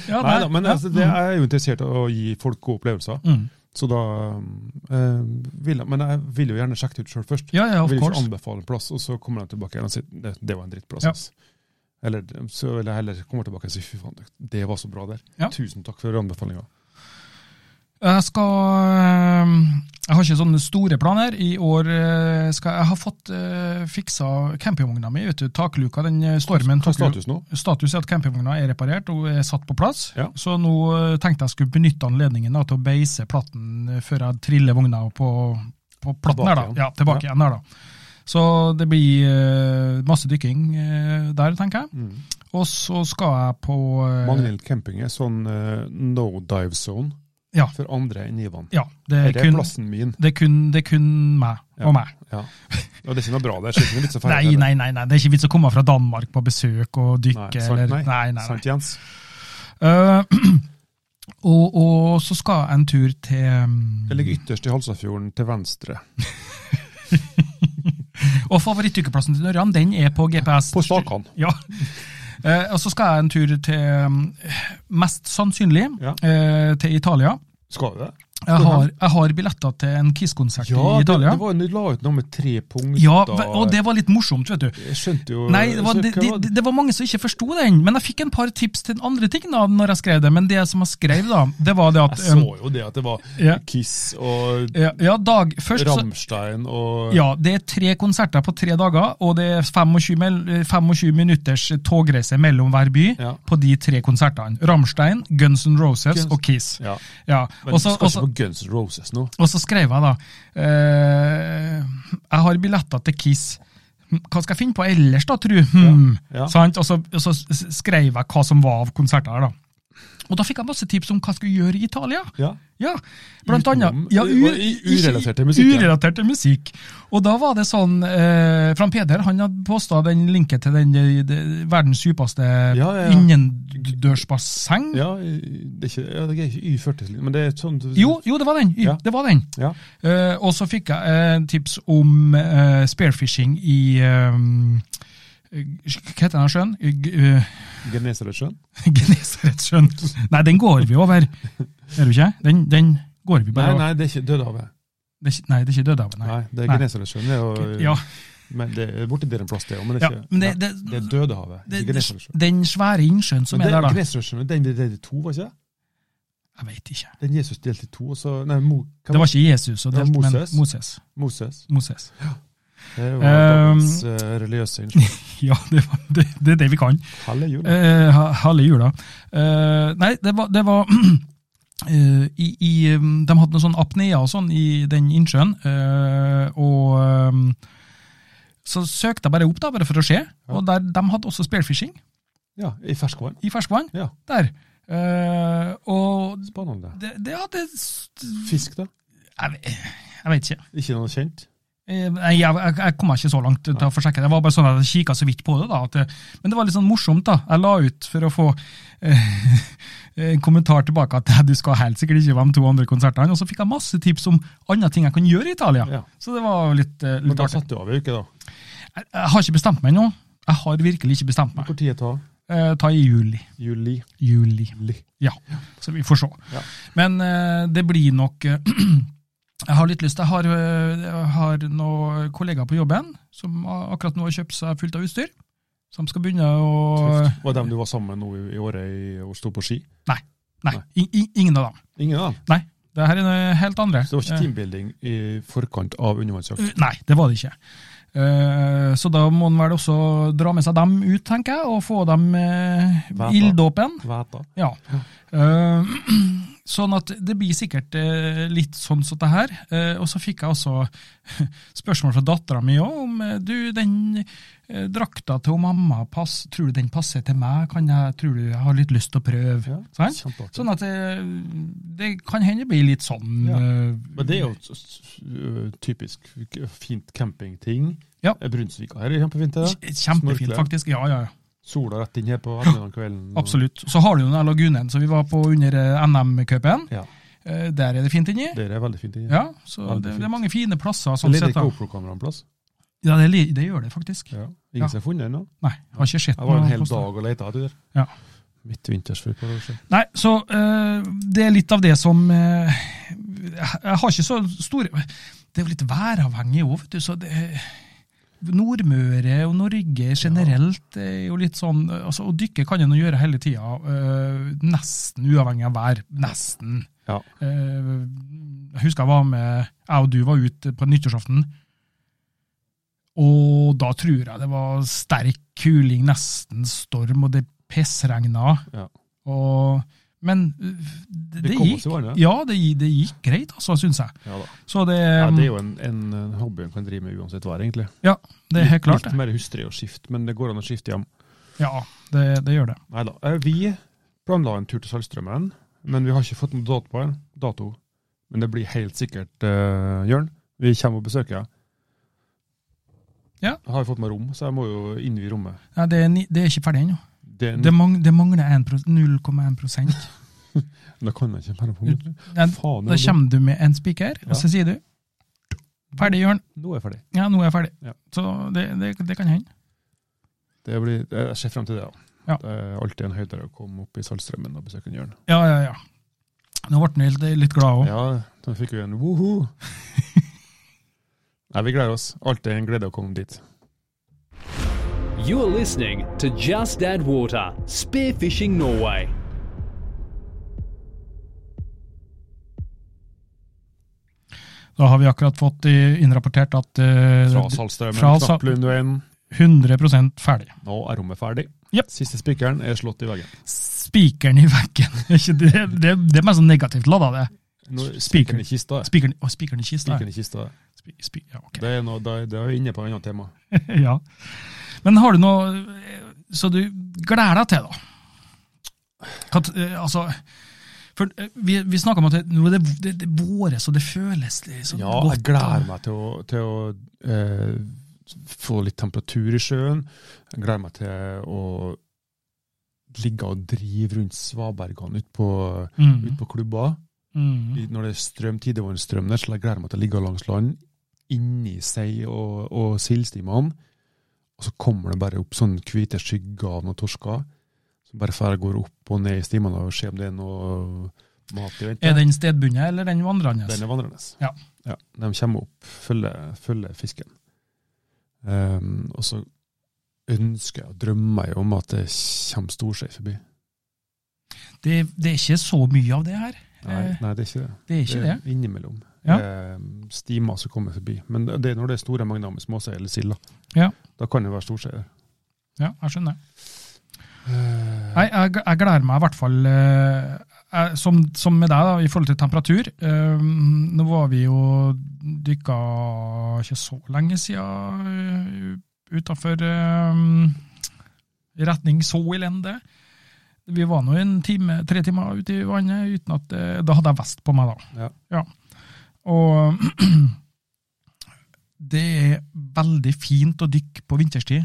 Speaker 2: ja
Speaker 3: Nei da,
Speaker 2: der.
Speaker 3: men
Speaker 2: Ja.
Speaker 3: altså, det er jo interessert i å gi folk gode opplevelser.
Speaker 2: Mm.
Speaker 3: Så da eh, vil jeg, Men jeg vil jo gjerne sjekke det ut sjøl først.
Speaker 2: Ja, ja,
Speaker 3: Jeg
Speaker 2: of
Speaker 3: vil ikke
Speaker 2: course.
Speaker 3: anbefale en plass, og så kommer de tilbake igjen og sier det, det var en drittplass.
Speaker 2: Ja.
Speaker 3: ass». Eller så vil jeg heller komme tilbake og si fy faen, det var så bra der.
Speaker 2: Ja.
Speaker 3: Tusen takk for anbefalinga.
Speaker 2: Jeg skal eh, Jeg har ikke sånne store planer. I år eh, skal jeg har fått eh, fiksa campingvogna mi, vet du. Takluka, den eh, stormen
Speaker 3: Hva er
Speaker 2: tok jo
Speaker 3: status nå?
Speaker 2: Status er at campingvogna er reparert og er satt på plass.
Speaker 3: Ja.
Speaker 2: Så nå eh, tenkte jeg skulle benytte anledningen da, til å beise platten eh, før jeg triller vogna på, på platten
Speaker 3: Tilbake
Speaker 2: her,
Speaker 3: igjen.
Speaker 2: da. Ja, tilbake igjen der, da. Så det blir eh, masse dykking eh, der, tenker jeg.
Speaker 3: Mm.
Speaker 2: Og så skal jeg på eh,
Speaker 3: Magnhild camping er sånn eh, no dive zone
Speaker 2: Ja.
Speaker 3: for andre enn Ivan.
Speaker 2: Ja, det er,
Speaker 3: Er det
Speaker 2: kun,
Speaker 3: plassen min?
Speaker 2: det, er kun, det er kun meg
Speaker 3: Ja.
Speaker 2: og meg.
Speaker 3: Ja. Og det er ikke noe bra der. så det er ikke noe vits å feire
Speaker 2: Nei,
Speaker 3: det.
Speaker 2: nei, nei, nei, det er ikke vits å komme fra Danmark på besøk og dykke.
Speaker 3: Nei, sant,
Speaker 2: eller,
Speaker 3: nei.
Speaker 2: nei, nei, nei.
Speaker 3: Sant, Jens?
Speaker 2: Eh, og, og så skal jeg en tur til um,
Speaker 3: Det ligger ytterst i Halsafjorden, til venstre.
Speaker 2: Og favorittdykkerplassen til Ørjan, den er på GPS.
Speaker 3: På Stakan.
Speaker 2: Ja. Eh, og så skal jeg en tur til, eh, mest sannsynlig,
Speaker 3: Ja.
Speaker 2: eh, til Italia.
Speaker 3: Skal du det?
Speaker 2: Jeg har, jeg har billetter til en Kiss-konsert
Speaker 3: Ja,
Speaker 2: i
Speaker 3: det,
Speaker 2: Italia.
Speaker 3: det var, du la ut noe med tre punkter.
Speaker 2: ja, ve- og det var litt morsomt, vet du.
Speaker 3: Jeg skjønte jo
Speaker 2: Nei, det var,
Speaker 3: så
Speaker 2: det,
Speaker 3: hva var
Speaker 2: det, det var mange som ikke forsto den, men jeg fikk en par tips til den andre ting da når jeg skrev det. Men det som jeg skrev, da, det var det at
Speaker 3: Jeg så jo det at det var
Speaker 2: Um, Ja.
Speaker 3: Kiss og
Speaker 2: eh, ja, ja, dag, først så,
Speaker 3: Rammstein og
Speaker 2: Ja, det er tre konserter på tre dager, og det er 25, mel- 25 minutters eh, togreise mellom hver by
Speaker 3: Ja.
Speaker 2: på de tre konsertene. Rammstein, Guns N' Roses
Speaker 3: Guns-
Speaker 2: og Kiss.
Speaker 3: Ja.
Speaker 2: Ja,
Speaker 3: Men
Speaker 2: og
Speaker 3: du
Speaker 2: så-
Speaker 3: skal
Speaker 2: og så-
Speaker 3: ikke på Guns N' Roses nå.
Speaker 2: og så skrev jeg da eh, Jeg har billetter til Kiss. Hm, Hva skal jeg finne på ellers, da, tru? Hmm.
Speaker 3: Ja, ja.
Speaker 2: Sant? Og, så, og så s- skrev jeg hva som var av konserter her, da. Og da fikk jeg masse tips om hva jeg skulle gjøre i Italia.
Speaker 3: Ja.
Speaker 2: Ja, blant annet.
Speaker 3: Utenom-
Speaker 2: Ja,
Speaker 3: og i- urelatert til musikk, ja.
Speaker 2: Urelatert til musikk. Og da var det sånn eh, Fran Peder han hadde posta den linken til den, eh, det- verdens dypeste
Speaker 3: Ja, ja, ja.
Speaker 2: innendørsbasseng.
Speaker 3: Ja, det er ikke ja, det er ikke Y40, men det er sånn
Speaker 2: Jo, jo, det var den.
Speaker 3: Ja.
Speaker 2: Det var den.
Speaker 3: Ja.
Speaker 2: Eh, og så fikk jeg eh, tips om eh, spearfishing i eh, Hva heter den sjøen? G- eh,
Speaker 3: Genesaretsjøen.
Speaker 2: Genesaretsjøen. Nei, den går vi over. Er du ikke? Den, den går vi
Speaker 3: Nei,
Speaker 2: bare over.
Speaker 3: nei, det er ikke Dødehavet.
Speaker 2: Det er ikke- Nei, det er ikke Dødehavet,
Speaker 3: Nei.
Speaker 2: nei.
Speaker 3: det er Genesaretsjøen. Det er jo
Speaker 2: Ja,
Speaker 3: Men det er borti der en plass, det òg. Men det
Speaker 2: ja,
Speaker 3: er ikke
Speaker 2: men det,
Speaker 3: Nei,
Speaker 2: det,
Speaker 3: det er Dødehavet.
Speaker 2: det-
Speaker 3: ikke Genesaretsjøen.
Speaker 2: den svære innsjøen som
Speaker 3: Men
Speaker 2: er
Speaker 3: det
Speaker 2: der,
Speaker 3: er
Speaker 2: da.
Speaker 3: Genesaretsjøen, den er delt i to, var ikke det?
Speaker 2: Jeg vet ikke.
Speaker 3: Den Jesus delte i to, og så Nei, Mo, hva
Speaker 2: Det var ikke Jesus, og
Speaker 3: Det var
Speaker 2: delt, men
Speaker 3: Moses.
Speaker 2: Moses.
Speaker 3: Moses.
Speaker 2: Moses.
Speaker 3: Det er jo
Speaker 2: Um,
Speaker 3: dagens eh, religiøse innslag.
Speaker 2: Ja, det, var, det, det er det vi kan.
Speaker 3: Halve jul.
Speaker 2: Eh, ha- halve jula. Eh, nei, det var, det var eh, i, i, um, De hadde noe sånn apnea og sånn i den innsjøen, eh, og um, så søkte jeg bare opp, da, bare for å se. Og der, de hadde også spearfishing
Speaker 3: Ja, i ferskvann.
Speaker 2: i ferskvann.
Speaker 3: Ja.
Speaker 2: Der. Eh, og
Speaker 3: Spennende.
Speaker 2: det, det hadde st-
Speaker 3: Fisk, da?
Speaker 2: Jeg, ve- jeg vet ikke.
Speaker 3: Ikke noe kjent?
Speaker 2: Eh, Nei, jeg, jeg, jeg kom meg ikke så langt til å få sjekket. Det var bare sånn at jeg kikket så vidt på det. da. At det, men det var litt sånn morsomt. da. Jeg la ut for å få eh, en kommentar tilbake at du skal helt sikkert ikke være med to andre konsertene. Og så fikk jeg masse tips om andre ting jeg kan gjøre i Italia.
Speaker 3: Ja.
Speaker 2: Så det var jo litt, eh,
Speaker 3: Men
Speaker 2: litt
Speaker 3: da
Speaker 2: artig.
Speaker 3: satt du av ei uke, da.
Speaker 2: Jeg, jeg har ikke bestemt meg ennå. Jeg har virkelig ikke bestemt meg.
Speaker 3: Når tar
Speaker 2: Eh, ta i juli.
Speaker 3: juli?
Speaker 2: Juli.
Speaker 3: Li.
Speaker 2: Ja, så vi får se.
Speaker 3: Ja.
Speaker 2: Men eh, det blir nok eh, Jeg har litt lyst. Jeg har, øh, jeg har noen kollegaer på jobben som a- akkurat nå har kjøpt seg fullt av utstyr. Som skal begynne å
Speaker 3: Tøft. Var det dem du var sammen med nå i, i året i, og sto på ski?
Speaker 2: Nei, i- i- ingen av dem.
Speaker 3: Ingen av dem.
Speaker 2: Det her er noe helt andre.
Speaker 3: Så det var ikke
Speaker 2: Eh,
Speaker 3: teambuilding i forkant av undervannsjakt?
Speaker 2: Uh, Nei, det var det ikke. Eh, Så da må en vel også dra med seg dem ut, tenker jeg, og få dem eh,
Speaker 3: Hva da?
Speaker 2: ilddåpen.
Speaker 3: Vet da.
Speaker 2: Ja. Eh, Sånn at det blir sikkert eh, litt sånn som det her. Eh, Og så fikk jeg også spørsmål fra dattera mi òg om eh, du, den eh, drakta til hun mamma, pass, tror du den passer til meg? Kan jeg, tror du jeg har litt lyst til å prøve?
Speaker 3: Ja,
Speaker 2: Sant?
Speaker 3: kjempeartig.
Speaker 2: Sånn at eh, det kan hende bli litt sånn.
Speaker 3: Ja.
Speaker 2: eh,
Speaker 3: Men det er jo et s- s- ø, typisk k- fint campingting.
Speaker 2: Ja.
Speaker 3: Eh, Brunsvik her er kjempefint. det da.
Speaker 2: Kjempefint,
Speaker 3: Snorkle.
Speaker 2: faktisk. Ja, ja, ja.
Speaker 3: Sola rett inn her på ettermiddagen kvelden. og-
Speaker 2: Absolutt. Så har du jo den der lagunen som vi var på under eh, NM-cupen.
Speaker 3: Ja.
Speaker 2: Eh, Der er det fint inni.
Speaker 3: Det er veldig fint. inni.
Speaker 2: Ja, så
Speaker 3: Veldig
Speaker 2: det, det
Speaker 3: fint.
Speaker 2: er mange fine plasser.
Speaker 3: Jeg
Speaker 2: sånn
Speaker 3: leder
Speaker 2: sett.
Speaker 3: ikke
Speaker 2: da.
Speaker 3: GoPro-kameraet en plass.
Speaker 2: Ja, det, li- det gjør det faktisk. Ja.
Speaker 3: Ja. Ingen som har funnet den ennå.
Speaker 2: Nei, har ikke sett
Speaker 3: Jeg var en
Speaker 2: noe
Speaker 3: hel
Speaker 2: poster.
Speaker 3: dag og lette etter det.
Speaker 2: Ja.
Speaker 3: Midtvinters for et par år siden.
Speaker 2: Nei, så eh, det er litt av det som eh, Jeg har ikke så store Det er jo litt væravhengig òg, vet du. Så det, Nordmøre og Norge generelt er jo litt sånn altså, Å dykke kan en jo gjøre hele tida, eh, nesten uavhengig av vær. Nesten.
Speaker 3: Ja.
Speaker 2: Eh, Jeg husker jeg var med Jeg og du var ute på nyttårsaften. Og da tror jeg det var sterk kuling, nesten storm, og det pissregna.
Speaker 3: Ja.
Speaker 2: Og, men uh, det,
Speaker 3: Vi
Speaker 2: det
Speaker 3: kom
Speaker 2: gikk.
Speaker 3: oss i vannet.
Speaker 2: Ja, det, gi- det gikk greit, altså, syns jeg.
Speaker 3: Ja, da.
Speaker 2: Så det,
Speaker 3: ja, det er jo en, en eh, hobby en kan drive med uansett vær, egentlig.
Speaker 2: ja, det er helt klart,
Speaker 3: Litt
Speaker 2: det.
Speaker 3: mer hustrig å skifte, men det går an å skifte hjem.
Speaker 2: Ja, det, det gjør det.
Speaker 3: Nei da. Eh, Vi planla en tur til Saltstraumen, men vi har ikke fått noen dato på den. Dato. Men det blir helt sikkert, eh, Jørn. Vi kommer og besøker deg.
Speaker 2: Ja.
Speaker 3: Jeg har jo fått meg rom, så jeg må jo innvie rommet.
Speaker 2: Nei, det, er ni- det er ikke ferdig ennå.
Speaker 3: Det, er en-
Speaker 2: Det, mang, det mangler 1 pros- 0,1 prosent.
Speaker 3: Da kan jeg ikke mer på meg.
Speaker 2: Da
Speaker 3: Faen, nå,
Speaker 2: kommer du med en spiker, og så sier du Ferdig, Jørn.
Speaker 3: nå er jeg ferdig.
Speaker 2: Ja, nå er jeg ferdig.
Speaker 3: Ja.
Speaker 2: Så det, det, det kan hende.
Speaker 3: Det blir, jeg ser frem til det, ja.
Speaker 2: Ja.
Speaker 3: Det er alltid en høydere å komme opp i Saltstraumen og besøke en Jørn.
Speaker 2: Ja, ja, ja. Nå ble han litt, litt glad òg.
Speaker 3: Ja, da fikk vi en woho. Nei, vi gleder oss. Alltid en glede å komme dit.
Speaker 1: You're listening to Just Add Water Spearfishing Norway.
Speaker 2: Da har vi akkurat fått eh, innrapportert at eh,
Speaker 3: Fra Saltstraumen,
Speaker 2: Fra Sal-
Speaker 3: Knapplundveien.
Speaker 2: 100 ferdig.
Speaker 3: Nå er rommet ferdig.
Speaker 2: Jep.
Speaker 3: Siste spikeren er slått i veggen.
Speaker 2: Spikeren i veggen. Er ikke det, det, det er mer sånn negativt lada, det.
Speaker 3: Nå,
Speaker 2: Spiker.
Speaker 3: spikeren i kista. er-
Speaker 2: Spikeren, å, spikeren i kista.
Speaker 3: Spikeren i kista. er-
Speaker 2: Spi, spi, ja, ok.
Speaker 3: Det er, noe, det er- det er inne på et annet tema.
Speaker 2: ja. Men har du noe eh, så du gleder deg til, da? At, eh, altså for eh, Vi, vi snakka om at det, nå er det, det, det våres, og det føles liksom
Speaker 3: Ja,
Speaker 2: godt.
Speaker 3: jeg gleder meg til å, til å eh, få litt temperatur i sjøen. Jeg gleder meg til å ligge og drive rundt svabergene ute på, ut
Speaker 2: Mm,
Speaker 3: på klubba.
Speaker 2: mm.
Speaker 3: I- Når det er strøm, tidevannsstrøm der, så jeg gleder meg til å ligge langs land, inni sei og, og sildstimene. Og så kommer det bare opp sånne hvite skygger av noen torsker. Som bare fer går opp og ned i stimene og ser om det er noe mat i vente.
Speaker 2: Er den stedbundet, eller den vandrende?
Speaker 3: Den er vandrende.
Speaker 2: Ja.
Speaker 3: de kommer opp, følger, følger fisken. Ehm, og så ønsker jeg og drømmer jeg om at det kommer storskei forbi.
Speaker 2: Det, det er ikke så mye av det her.
Speaker 3: Nei,
Speaker 2: Eh,
Speaker 3: nei, det er ikke det.
Speaker 2: Det er ikke det.
Speaker 3: er Innimellom.
Speaker 2: Ja.
Speaker 3: Eh, stimer som kommer forbi. Men det det er når det er store mengder med småsei eller sild. da.
Speaker 2: Ja.
Speaker 3: Da kan det være storsei. der.
Speaker 2: Ja, jeg skjønner.
Speaker 3: Eh,
Speaker 2: Nei, jeg, jeg gleder meg i hvert fall eh, jeg, som, som med deg, da, i forhold til temperatur. Eh, nå var vi jo dykka ikke så lenge siden eh, utenfor eh, retning Soilende. Vi var nå en time, tre timer ute i vannet uten at eh, Da hadde jeg vest på meg, da.
Speaker 3: Ja.
Speaker 2: Og det er veldig fint å dykke på vinterstid.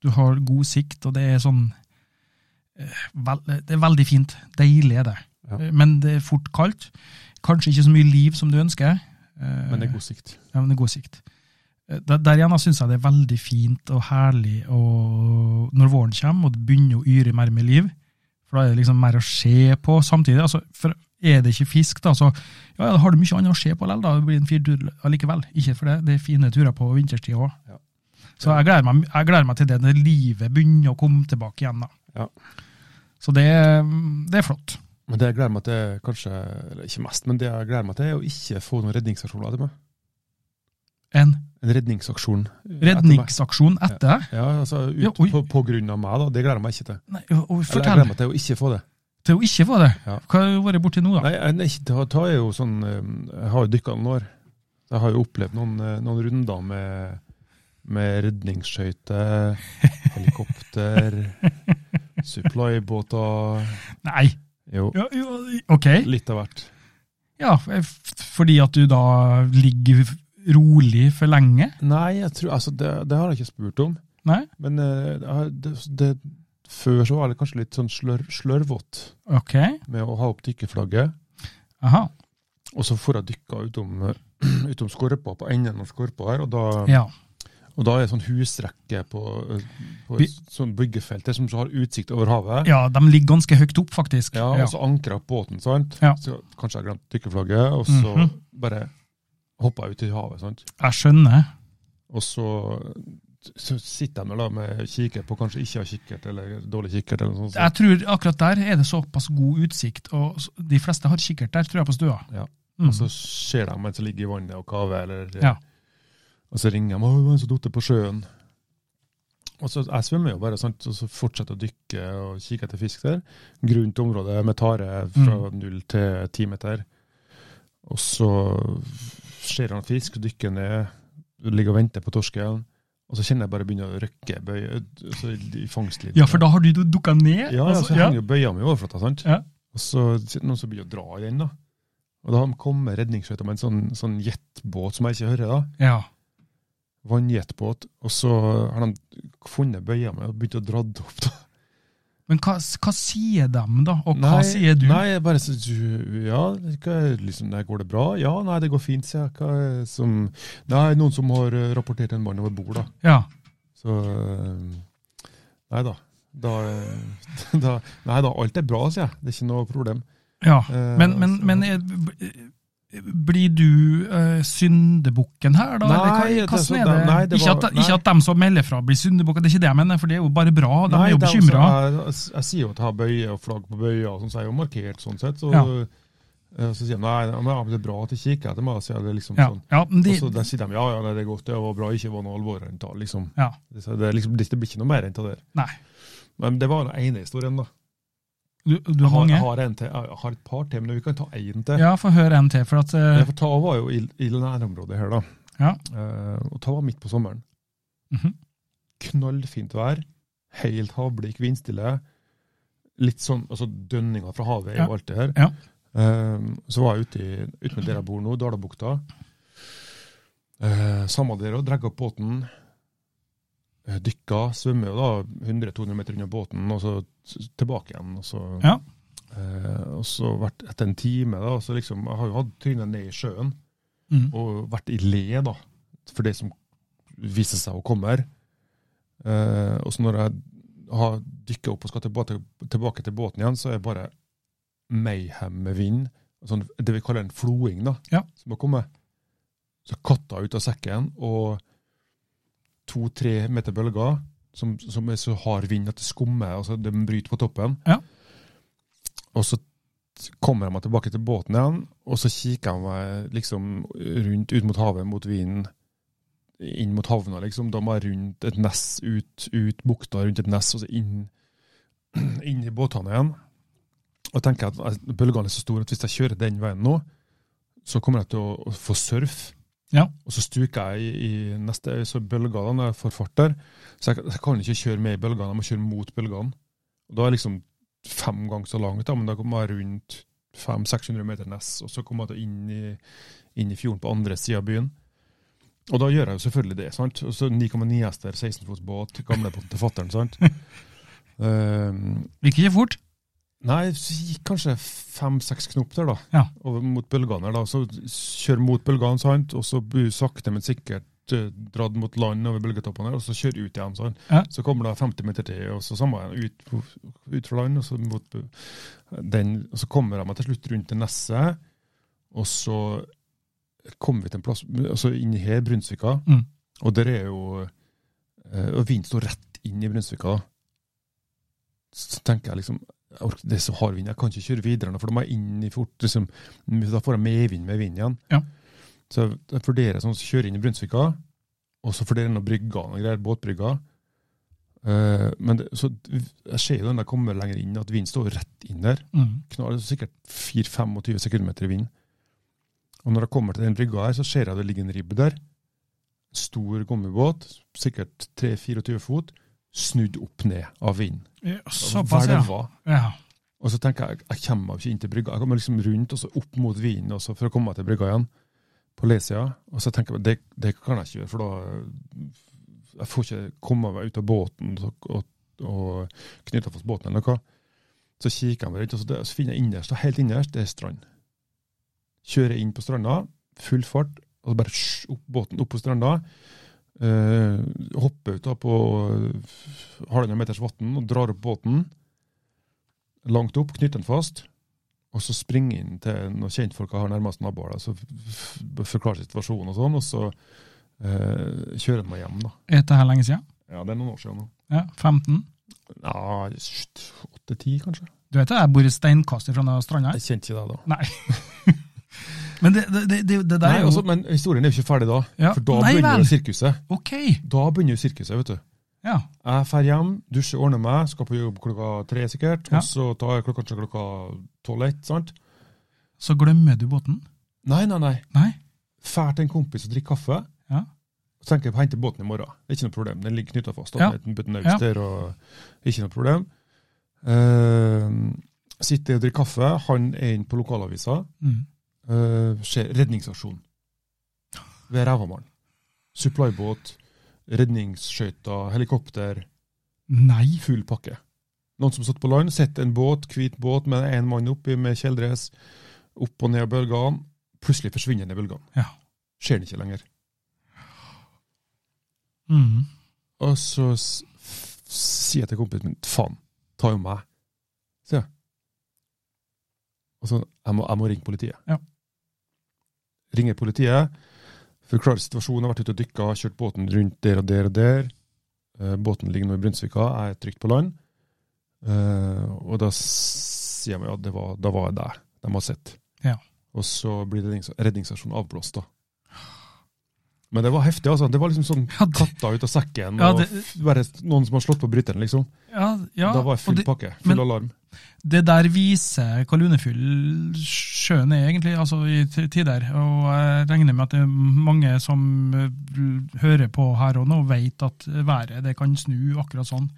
Speaker 2: Du har god sikt, og det er sånn eh, vel, Det er veldig fint. Deilig er det. Eh,
Speaker 3: Ja.
Speaker 2: Men det er fort kaldt. Kanskje ikke så mye liv som du ønsker. Eh,
Speaker 3: men det er god sikt.
Speaker 2: ja, men det er god sikt. Eh, Der, der igjen syns jeg det er veldig fint og herlig og når våren kommer og det begynner å yre mer med liv. For da er det liksom mer å se på samtidig. Altså, for er det ikke fisk, da, så ja, ja, da har du mye annet å se på likevel. da. Det blir en fin tur allikevel. Ikke for det, det er fine turer på vinterstid òg.
Speaker 3: Ja.
Speaker 2: Så jeg gleder, meg, jeg gleder meg til det når livet begynner å komme tilbake igjen. da.
Speaker 3: Ja.
Speaker 2: Så det, det er flott.
Speaker 3: Men det jeg gleder meg til, kanskje, eller ikke mest, men det jeg gleder meg til, er å ikke få noen redningsaksjoner til meg.
Speaker 2: En
Speaker 3: En redningsaksjon. etter meg.
Speaker 2: redningsaksjon etter deg?
Speaker 3: Ja, altså ut,
Speaker 2: Ja, oi.
Speaker 3: på, på grunn av meg, da. Det gleder jeg meg ikke til.
Speaker 2: Nei, og- og
Speaker 3: Eller jeg
Speaker 2: Fortell
Speaker 3: gleder meg til å ikke få det.
Speaker 2: til å ikke få det.
Speaker 3: Ja.
Speaker 2: Hva har du vært borti nå, da?
Speaker 3: Nei, jeg, nei, ta, ta er jo sånn eh, Jeg har jo dykka noen år. Jeg har jo opplevd noen, eh, noen runder med, med redningsskøyter, helikopter, supplybåter
Speaker 2: Nei.
Speaker 3: Jo,
Speaker 2: Ja, ja, ok.
Speaker 3: litt av hvert.
Speaker 2: Ja, f- fordi at du da ligger rolig for lenge?
Speaker 3: Nei, jeg tror, altså, det, det har jeg ikke spurt om.
Speaker 2: Nei?
Speaker 3: Men eh, jeg har- det, det, før så var det kanskje litt sånn slør, slørvått
Speaker 2: Ok.
Speaker 3: med å ha opp dykkerflagget.
Speaker 2: Aha.
Speaker 3: Og så får jeg dykka utom, eh, utom skorpa, på enden av skorpa her, og da,
Speaker 2: Ja.
Speaker 3: og da er det sånn husrekke på, eh, på
Speaker 2: Vi-
Speaker 3: et sånn byggefelt der som så har utsikt over havet.
Speaker 2: ja, de ligger ganske høyt opp, faktisk. Altså,
Speaker 3: Ja, og så ankra jeg båten, sant.
Speaker 2: Ja. Mhm.
Speaker 3: Så kanskje jeg glemte dykkerflagget, og så bare hoppa jeg ut i havet, sant.
Speaker 2: Jeg skjønner.
Speaker 3: Og så, så sitter jeg nå da med kikkert på, kanskje ikke har kikkert, eller dårlig kikkert, eller noe sånt.
Speaker 2: Jeg tror akkurat der er det såpass god utsikt, og s- de fleste har kikkert der, tror jeg, på stua.
Speaker 3: Ja. Altså,
Speaker 2: Mm.
Speaker 3: Og så ser de en som ligger i vannet og kaver, eller, eh,
Speaker 2: Ja.
Speaker 3: og så ringer de «Å, det var en som datt på sjøen. Og så Jeg svømmer jo bare, sant? og så fortsetter å dykke og kikke etter fisk der. Grunt område med tare fra
Speaker 2: Mm.
Speaker 3: null til ti meter. Og så ser han fisk, dykker ned, ligger og venter på torsken. Og så kjenner jeg bare begynner å røkke bøye, så i fangstlinja.
Speaker 2: ja, for da har du dukka ned?
Speaker 3: Ja,
Speaker 2: altså,
Speaker 3: så
Speaker 2: ja.
Speaker 3: henger jo bøya mi i overflata, sant?
Speaker 2: Ja.
Speaker 3: Og så sitter noen som begynner å dra i den, da. Og da kommer redningsskøyta med en sånn, sånn jetbåt som jeg ikke hører, da.
Speaker 2: ja.
Speaker 3: Vannjetbåt. Og så har de funnet bøya mi og begynt å dra det opp, da.
Speaker 2: Men hva, s- hva sier dem, da? Og hva sier du?
Speaker 3: Nei, jeg bare så, du- Ja, hva, er- liksom, nei, går det bra? Ja, nei, det går fint, sier jeg. Hva er som Nei, noen som har eh, rapportert en mann over bord, da.
Speaker 2: Ja.
Speaker 3: Så eh, Nei da. Da, eh, da. Nei da, alt er bra, sier jeg. Det er ikke noe problem.
Speaker 2: ja.
Speaker 3: Eh,
Speaker 2: Men, men,
Speaker 3: så-
Speaker 2: men er, blir du eh, syndebukken her, da? eller hva-
Speaker 3: Nei, det er
Speaker 2: hvordan
Speaker 3: så-
Speaker 2: er det?
Speaker 3: nei, det
Speaker 2: ikke,
Speaker 3: var-
Speaker 2: at, ikke at dem som melder fra blir syndebukker, det er ikke det jeg mener, for det er jo bare bra. De er jo
Speaker 3: det er
Speaker 2: bekymra.
Speaker 3: også- Jeg, jeg, jeg sier jo at jeg har bøye og flagg på bøya, og sånn, så jeg er jo markert sånn sett. Så,
Speaker 2: Ja.
Speaker 3: eh, så sier de nei, nei, men det er bra at de kikker etter meg. Så er det liksom
Speaker 2: Ja,
Speaker 3: sånn.
Speaker 2: ja, men de,
Speaker 3: Og så der sier de ja, ja, nei, det er godt, det var bra, ikke var noe alvor enn det. Liksom.
Speaker 2: ja.
Speaker 3: Det, så det, er liksom, det blir ikke noe mer enn det der.
Speaker 2: Nei.
Speaker 3: Men det var den ene historien, da.
Speaker 2: Du, du har
Speaker 3: Jeg har,
Speaker 2: mange?
Speaker 3: jeg har, en til, jeg har et par til, men vi kan ta én til.
Speaker 2: Ja, få høre en til. For at, eh,
Speaker 3: Eh, For Tava var jo i, i nærområdet her, da.
Speaker 2: Ja.
Speaker 3: Eh, og Tava midt på sommeren.
Speaker 2: mhm.
Speaker 3: knallfint vær, helt havblikk, vindstille. Litt sånn altså dønninga fra havet er
Speaker 2: Ja.
Speaker 3: jo alt det her.
Speaker 2: Ja.
Speaker 3: Ehm, så var jeg ute i, ute med der jeg bor nå, Dalabukta. Uh, samme der og dregga opp båten. Eh, Dykka, svømmer jo da 100-200 meter under båten, og så t- tilbake igjen. Og så,
Speaker 2: Ja.
Speaker 3: Eh, og så vært etter en time, da, så liksom Jeg har jo hatt trynet ned i sjøen
Speaker 2: Mm.
Speaker 3: og vært i le da, for det som viser seg å komme. her. Eh, og så når jeg har dykket opp og skal tilbake, tilbake til båten igjen, så er det bare mayhem med vind. Sånn, det vi kaller en floing, da,
Speaker 2: Ja.
Speaker 3: som har kommet. Så katta ut av sekken, og to-tre meter bølger, som, som er så hard vind at det skummer, altså det bryter på toppen.
Speaker 2: Ja.
Speaker 3: Og så kommer jeg meg tilbake til båten igjen, og så kikker jeg meg liksom rundt ut mot havet, mot vinden, inn mot havna, liksom. Da må jeg rundt et ness, ut, ut bukta, rundt et ness, og så inn, inn i båtene igjen. Og tenker at eh, bølgene er så store at hvis jeg kjører den veien nå, så kommer jeg til å, å få surf.
Speaker 2: Ja.
Speaker 3: Og så stuker jeg i, i neste så bølger da, når jeg får fart der. Så jeg, jeg kan ikke kjøre med i bølgene, jeg må kjøre mot bølgene. Og da er jeg liksom fem ganger så langt, da, men da kommer jeg rundt 500-600 meter ness, og så kommer jeg til inn i, inn i fjorden på andre siden av byen. Og da gjør jeg jo selvfølgelig det, sant? Og så 9,9 hester, 16 fots båt, gamle båten til fatteren, sant? Ehm,
Speaker 2: Gikk ikke fort?
Speaker 3: Nei, så gikk kanskje fem-seks knop der, da.
Speaker 2: Ja.
Speaker 3: Over mot bølgene her, da. Så kjør mot bølgene, sant. Og så bu- sakte, men sikkert eh, dratt mot land over bølgetoppene, der, og så kjøre ut igjen. sånn.
Speaker 2: Ja.
Speaker 3: Så kommer det 50 meter til, og så samme veien, ut, på- ut fra land, og så, mot, den, og så kommer de til slutt rundt til Nesset. Og så kom vi til en plass, altså inn her, Brunsvika,
Speaker 2: Mm.
Speaker 3: og der er jo eh, Og vinden står rett inn i Brunsvika. Så tenker jeg liksom jeg orker- det er så hard vind, jeg kan ikke kjøre videre nå, for da må jeg inn i fort, liksom, da får jeg medvind med vind igjen.
Speaker 2: Ja.
Speaker 3: Så jeg, jeg vurderer sånn, så kjører jeg inn i Brunsvika, og så vurderer jeg noen brygger og greier, båtbrygger. Eh, men det, så jeg ser jo når jeg kommer lenger inn, at vinden står rett inn der
Speaker 2: Mm.
Speaker 3: knall, det er sikkert 4-25 sekundmeter i vind. Og når jeg kommer til den brygga her, så ser jeg det ligger en ribbe der. Stor gummibåt, sikkert 3-24 fot, snudd opp ned av vinden.
Speaker 2: Ja, Såpass, ja.
Speaker 3: Hvelva.
Speaker 2: ja.
Speaker 3: Og så tenker jeg jeg kommer ikke inn til brygga. Jeg kommer liksom rundt og så opp mot vinden også, for å komme meg til brygga igjen. På lesida. Og så tenker jeg det, det kan jeg ikke gjøre, for da Jeg får ikke komme meg ut av båten og, og, og knytte fast båten eller noe. Så kikker jeg meg rundt, og så, det, så finner jeg innerst, og helt innerst, det er strand. Kjører inn på stranda, full fart, og så bare sj, opp båten opp på stranda. Eh, hopper ut da på halvannen meters vann og drar opp båten langt opp, knytter den fast, og så springer inn til noen kjentfolk jeg har nærmest naboer, da, så f- f- forklarer situasjonen og sånn, og så eh, kjører den meg hjem. da.
Speaker 2: Er dette her lenge siden?
Speaker 3: Ja, Det er noen år siden nå.
Speaker 2: Ja, 15?
Speaker 3: Ja, Åtte-ti, kanskje.
Speaker 2: Du vet det, jeg bor i steinkast fra noen stranda.
Speaker 3: Jeg kjente ikke deg da.
Speaker 2: Nei. Men det, det, det, det der
Speaker 3: Nei, altså-
Speaker 2: er jo
Speaker 3: også, men historien er jo ikke ferdig da,
Speaker 2: Ja.
Speaker 3: for da
Speaker 2: Nei
Speaker 3: begynner
Speaker 2: vel.
Speaker 3: jo sirkuset.
Speaker 2: Ok!
Speaker 3: Da begynner jo sirkuset, vet du.
Speaker 2: Ja.
Speaker 3: Jeg drar hjem, dusjer, ordner meg, skal på jobb klokka tre sikkert,
Speaker 2: Ja.
Speaker 3: og så tar jeg klokka, kanskje klokka tolv-ett, sant?
Speaker 2: Så glemmer du båten?
Speaker 3: Nei, nei, nei.
Speaker 2: Nei?
Speaker 3: Fær til en kompis og drikker kaffe.
Speaker 2: Ja.
Speaker 3: Og så tenker jeg på å hente båten i morgen. Det er ikke noe problem. Den ligger knytta fast.
Speaker 2: Ja.
Speaker 3: Ja. Den bøtten ja. der, og ikke noe problem. Eh, sitter og drikker kaffe. Han er inne på lokalavisa.
Speaker 2: Mm.
Speaker 3: Eh, ser redningsaksjon ved Rævhamaren. Supplybåt, redningsskøyter, helikopter.
Speaker 2: Nei.
Speaker 3: Full pakke. Noen som satt på land, sett en båt, hvit båt med én mann oppi med kjeledress, opp og ned av bølgene. Plutselig forsvinner den i bølgene.
Speaker 2: Ja.
Speaker 3: Ser den ikke lenger.
Speaker 2: Mm.
Speaker 3: Og så s- f- sier jeg til kompisen min Faen, ta jo meg. Sier jeg. Og så jeg må, jeg må ringe politiet.
Speaker 2: Ja.
Speaker 3: Ringer politiet, forklarer situasjonen. Har vært ute og dykka, kjørt båten rundt der og der og der. Eh, Båten ligger nå i Brunsvika, jeg er trygt på land. Eh, og da s- sier de ja, det var, da var jeg der. De har sett.
Speaker 2: Ja.
Speaker 3: Og så blir rednings- redningsaksjonen avblåst, da. Men det var heftig, altså. Det var liksom sånn
Speaker 2: Ja, det,
Speaker 3: katta ut av sekken,
Speaker 2: Ja,
Speaker 3: og
Speaker 2: det-
Speaker 3: f- bare noen som har slått på bryteren, liksom.
Speaker 2: ja, ja.
Speaker 3: da var
Speaker 2: og
Speaker 3: det full
Speaker 2: det,
Speaker 3: pakke, full
Speaker 2: men-
Speaker 3: alarm.
Speaker 2: det der viser hvor lunefull sjøen er, egentlig, altså i t- tider. Og jeg regner med at det er mange som eh, hører på her og nå, vet at været det kan snu akkurat sånn.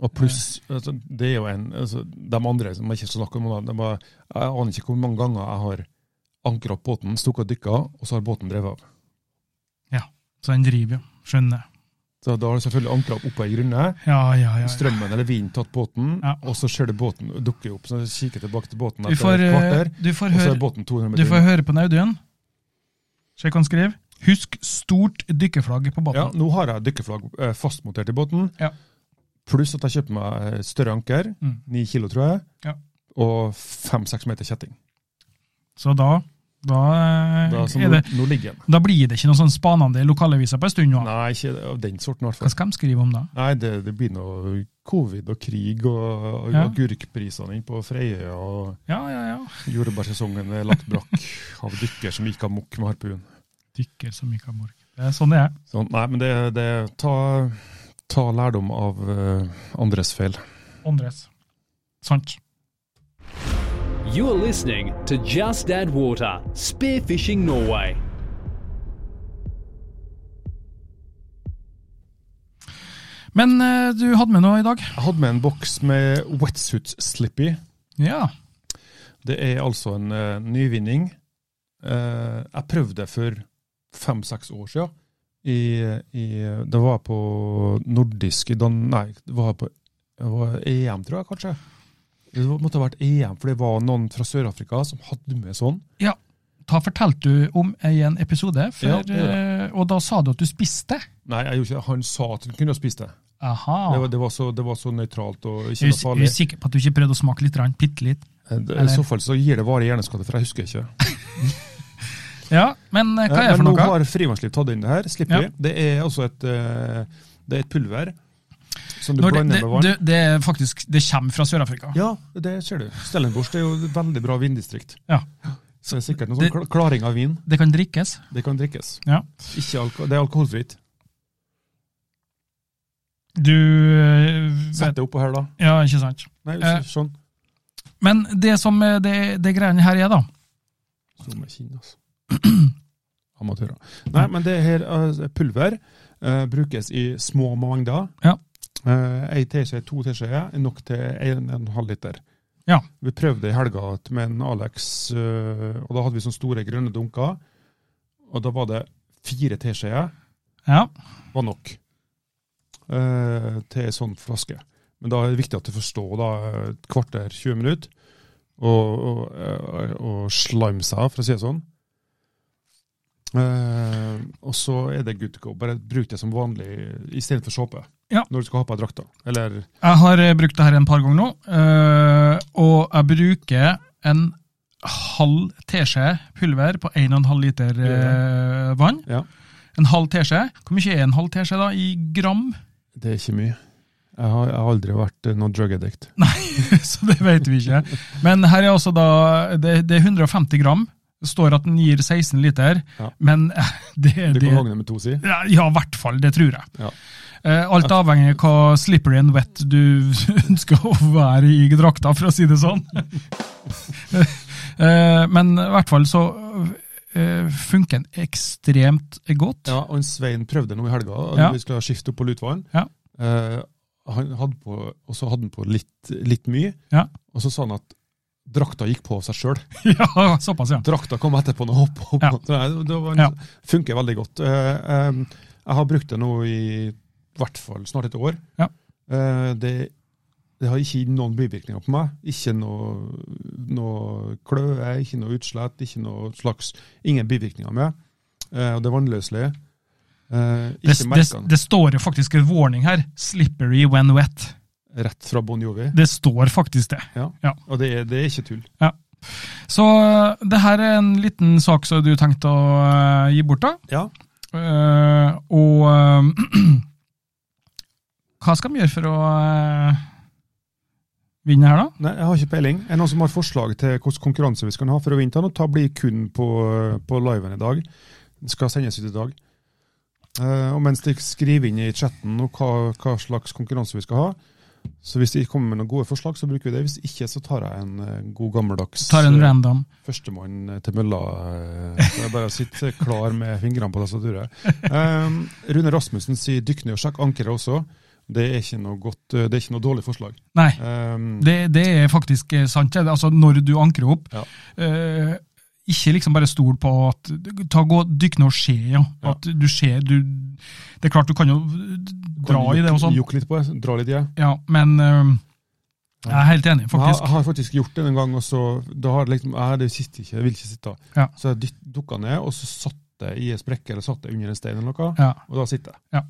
Speaker 3: Og pluss, altså, det er jo en, altså, de andre som jeg ikke snakker om, de bare, jeg aner ikke hvor mange ganger jeg har ankret opp båten, stukket og dykka, og så har båten drevet av.
Speaker 2: Så den driver, ja. Skjønner.
Speaker 3: Så da har jeg selvfølgelig ankret opp oppe i grunnet,
Speaker 2: Ja, ja, ja. ja.
Speaker 3: strømmen eller vinden tatt båten,
Speaker 2: Ja.
Speaker 3: og så ser du båten dukke opp, så jeg kikker tilbake til båten
Speaker 2: Du
Speaker 3: etter
Speaker 2: får,
Speaker 3: et
Speaker 2: eh,
Speaker 3: kvarter,
Speaker 2: du får
Speaker 3: og så
Speaker 2: høre
Speaker 3: er båten 200
Speaker 2: Du
Speaker 3: meter.
Speaker 2: får høre på Audun. Se hva han skrev. Husk stort dykkerflagg på
Speaker 3: Ja,
Speaker 2: båten.
Speaker 3: nå har jeg dykkeflagg eh, fastmontert i båten,
Speaker 2: Ja.
Speaker 3: pluss at jeg kjøper meg eh, større anker,
Speaker 2: Mm.
Speaker 3: ni kilo tror jeg,
Speaker 2: Ja.
Speaker 3: og fem-seks meter kjetting.
Speaker 2: Så da, da, eh,
Speaker 3: Da, så
Speaker 2: er
Speaker 3: nå,
Speaker 2: det,
Speaker 3: nå ligger den.
Speaker 2: da blir det ikke noe sånn spanende i lokalaviser på en stund nå.
Speaker 3: Nei, ikke av den sorten i
Speaker 2: Hva
Speaker 3: hvert fall.
Speaker 2: skal de skrive om da?
Speaker 3: Nei, det, det blir noe covid og krig og, og
Speaker 2: Ja.
Speaker 3: agurkprisene inn på Freyøya, og
Speaker 2: Ja, ja, ja.
Speaker 3: jordbærsesongen er lagt brakk av dykker som gikk amok med harpun.
Speaker 2: Dykker som ikke har mork. Det er sånn det er.
Speaker 3: Så, nei, men det, det ta, ta lærdom av eh, andres feil.
Speaker 2: Andres. Sant.
Speaker 1: You are listening to Just Add Water Spearfishing Norway.
Speaker 2: Men eh, du hadde med noe i dag?
Speaker 3: Jeg hadde med en boks med wetsuit slippy.
Speaker 2: Ja.
Speaker 3: Det er altså en eh, nyvinning. Eh, jeg prøvde det for fem-seks år siden. I, i, det var på nordisk i Dan... Nei, det var på det var EM, tror jeg, kanskje. Det var- måtte ha vært EM, for det var noen fra Sør-Afrika som hadde med sånn.
Speaker 2: Da fortalte du om i en episode for
Speaker 3: Ja, det gjorde
Speaker 2: eh, og da sa du at du spiste.
Speaker 3: Nei, jeg gjorde ikke det. Han sa at du kunne ha spist det.
Speaker 2: Aha.
Speaker 3: Det, var, det, var så, det var så nøytralt og
Speaker 2: Er
Speaker 3: ikke noe
Speaker 2: du, er
Speaker 3: farlig.
Speaker 2: du sikker på at du ikke prøvde å smake litt? rann? Bitte litt?
Speaker 3: Eh, I så fall så gir det varig hjerneskade, for jeg husker ikke.
Speaker 2: Ja, men eh, hva er det for
Speaker 3: Eh, Men nå
Speaker 2: noe?
Speaker 3: har Frivannsliv tatt inn det her.
Speaker 2: Ja.
Speaker 3: Slipper vi. Det er altså et, eh, det er et pulver som du
Speaker 2: Når det,
Speaker 3: blander
Speaker 2: det,
Speaker 3: med vann.
Speaker 2: det, det, er faktisk, det kommer fra Sør-Afrika.
Speaker 3: Ja, det ser du. Stellenbosch det er jo et veldig bra vindistrikt.
Speaker 2: Ja.
Speaker 3: Så det er sikkert noe
Speaker 2: Det-
Speaker 3: sånn kla- klaring av vin.
Speaker 2: Det kan drikkes.
Speaker 3: Det kan drikkes.
Speaker 2: Ja.
Speaker 3: Ikke alko det er alkoholfritt.
Speaker 2: Du eh,
Speaker 3: Sett
Speaker 2: vet,
Speaker 3: det oppå her, da.
Speaker 2: Ja, ikke sant.
Speaker 3: Nei,
Speaker 2: Eh.
Speaker 3: sånn.
Speaker 2: Men det som eh, det, det greiene her er, da
Speaker 3: Slo meg i kinnet, altså. Amatører. Nei, men det her eh, pulver eh, brukes i små mengder.
Speaker 2: Ja.
Speaker 3: Eh, Ei teskje, to teskjeer er nok til en, en halv liter.
Speaker 2: Ja.
Speaker 3: Vi prøvde i helga at- med en Alex, eh, og da hadde vi sånne store grønne dunker. Og da var det fire teskjeer
Speaker 2: Ja.
Speaker 3: var nok eh, til en sånn flaske. Men da er det viktig at du forstår da, et kvarter, 20 minutter, og, og, eh, og slime seg, for å si det sånn. Eh, og så er det good to go. Bare bruk det som vanlig istedenfor såpe.
Speaker 2: Ja.
Speaker 3: Når du skal ha på deg drakta. Eller
Speaker 2: Jeg har eh, brukt det her en par ganger nå, eh, og jeg bruker en halv teskje pulver på 1,5 liter eh, vann.
Speaker 3: Ja.
Speaker 2: En halv teskje. Hvor mye er en halv teskje da, i gram?
Speaker 3: Det er ikke mye. Jeg har, jeg har aldri vært eh, noen drug addict.
Speaker 2: Så det vet vi ikke. Men her er altså da Det, det er 150 gram. Det står at den gir 16 liter,
Speaker 3: Ja.
Speaker 2: men eh, det,
Speaker 3: Du
Speaker 2: det
Speaker 3: kan gagne med to, si.
Speaker 2: ja, ja, i hvert fall. Det tror jeg.
Speaker 3: Ja.
Speaker 2: Eh, Alt avhenger av hva slippery and wet du ønsker å være i drakta, for å si det sånn. Eh, Men i hvert fall så eh, funker den ekstremt godt.
Speaker 3: Ja, og en Svein prøvde nå i helga, når
Speaker 2: Ja.
Speaker 3: vi skulle skifte opp på lutvann.
Speaker 2: Ja.
Speaker 3: Eh, han hadde på, og så hadde han på litt, litt mye,
Speaker 2: Ja.
Speaker 3: og så sa han at drakta gikk på av seg sjøl.
Speaker 2: Ja, såpass, ja.
Speaker 3: Drakta kom etterpå når han hoppa opp.
Speaker 2: Ja.
Speaker 3: Det, det eh, var en,
Speaker 2: Ja.
Speaker 3: funker veldig godt. Eh, em, jeg har brukt det nå i hvert fall snart et år.
Speaker 2: Ja.
Speaker 3: Eh, det, det har ikke gitt noen bivirkninger på meg. Ikke noe, noe kløe, ikke noe utslett, ikke noe slags Ingen bivirkninger med. Eh, og det er vannløselig. Eh,
Speaker 2: Det,
Speaker 3: ikke
Speaker 2: det,
Speaker 3: merkene.
Speaker 2: det står jo faktisk en warning her. 'Slippery when wet'.
Speaker 3: Rett fra Bon Jovi.
Speaker 2: Det står faktisk det.
Speaker 3: Og det er, det er ikke tull.
Speaker 2: Så eh, det her er en liten sak som du tenkte å eh, gi bort, da.
Speaker 3: Ja.
Speaker 2: Eh, og eh, hva skal vi gjøre for å eh, vinne her, da?
Speaker 3: Nei, jeg har ikke peiling. Er det noen som har forslag til hvilken konkurranse vi skal ha for å vinne den? Og ta blir kun på, på liven i dag. Den skal sendes ut i dag. Eh, og mens de skriver inn i chatten nå hva, hva slags konkurranse vi skal ha, så hvis de kommer med noen gode forslag, så bruker vi det. Hvis ikke, så tar jeg en eh, god gammeldags
Speaker 2: Tar en
Speaker 3: eh,
Speaker 2: random.
Speaker 3: førstemann til mølla. eh, så Jeg bare sitter klar med fingrene på tastaturet. Um, Rune Rasmussen sier 'dykk ned og sjekk ankeret' også. Det er ikke noe godt, eh, det er ikke noe dårlig forslag.
Speaker 2: Nei,
Speaker 3: Um,
Speaker 2: det, det er faktisk eh, sant. det. Altså, når du ankrer opp
Speaker 3: Ja.
Speaker 2: eh, Ikke liksom bare stol på at ta, gå, Dykk ned og se, ja.
Speaker 3: Ja.
Speaker 2: At du ser du, Det er klart, du kan jo dra
Speaker 3: kan
Speaker 2: i det og
Speaker 3: juk-
Speaker 2: sånn,
Speaker 3: Jukke litt på det, dra litt i det.
Speaker 2: ja, men eh, jeg er helt enig,
Speaker 3: Men Jeg,
Speaker 2: faktisk.
Speaker 3: jeg har faktisk gjort det en gang, og så da har jeg liksom, jeg, det sitter ikke, jeg vil ikke sitte.
Speaker 2: Ja.
Speaker 3: Så jeg dytt- dukka ned, og så satt jeg i en sprekke, eller satt jeg under en stein eller noe,
Speaker 2: Ja.
Speaker 3: og da sitter jeg.
Speaker 2: Ja.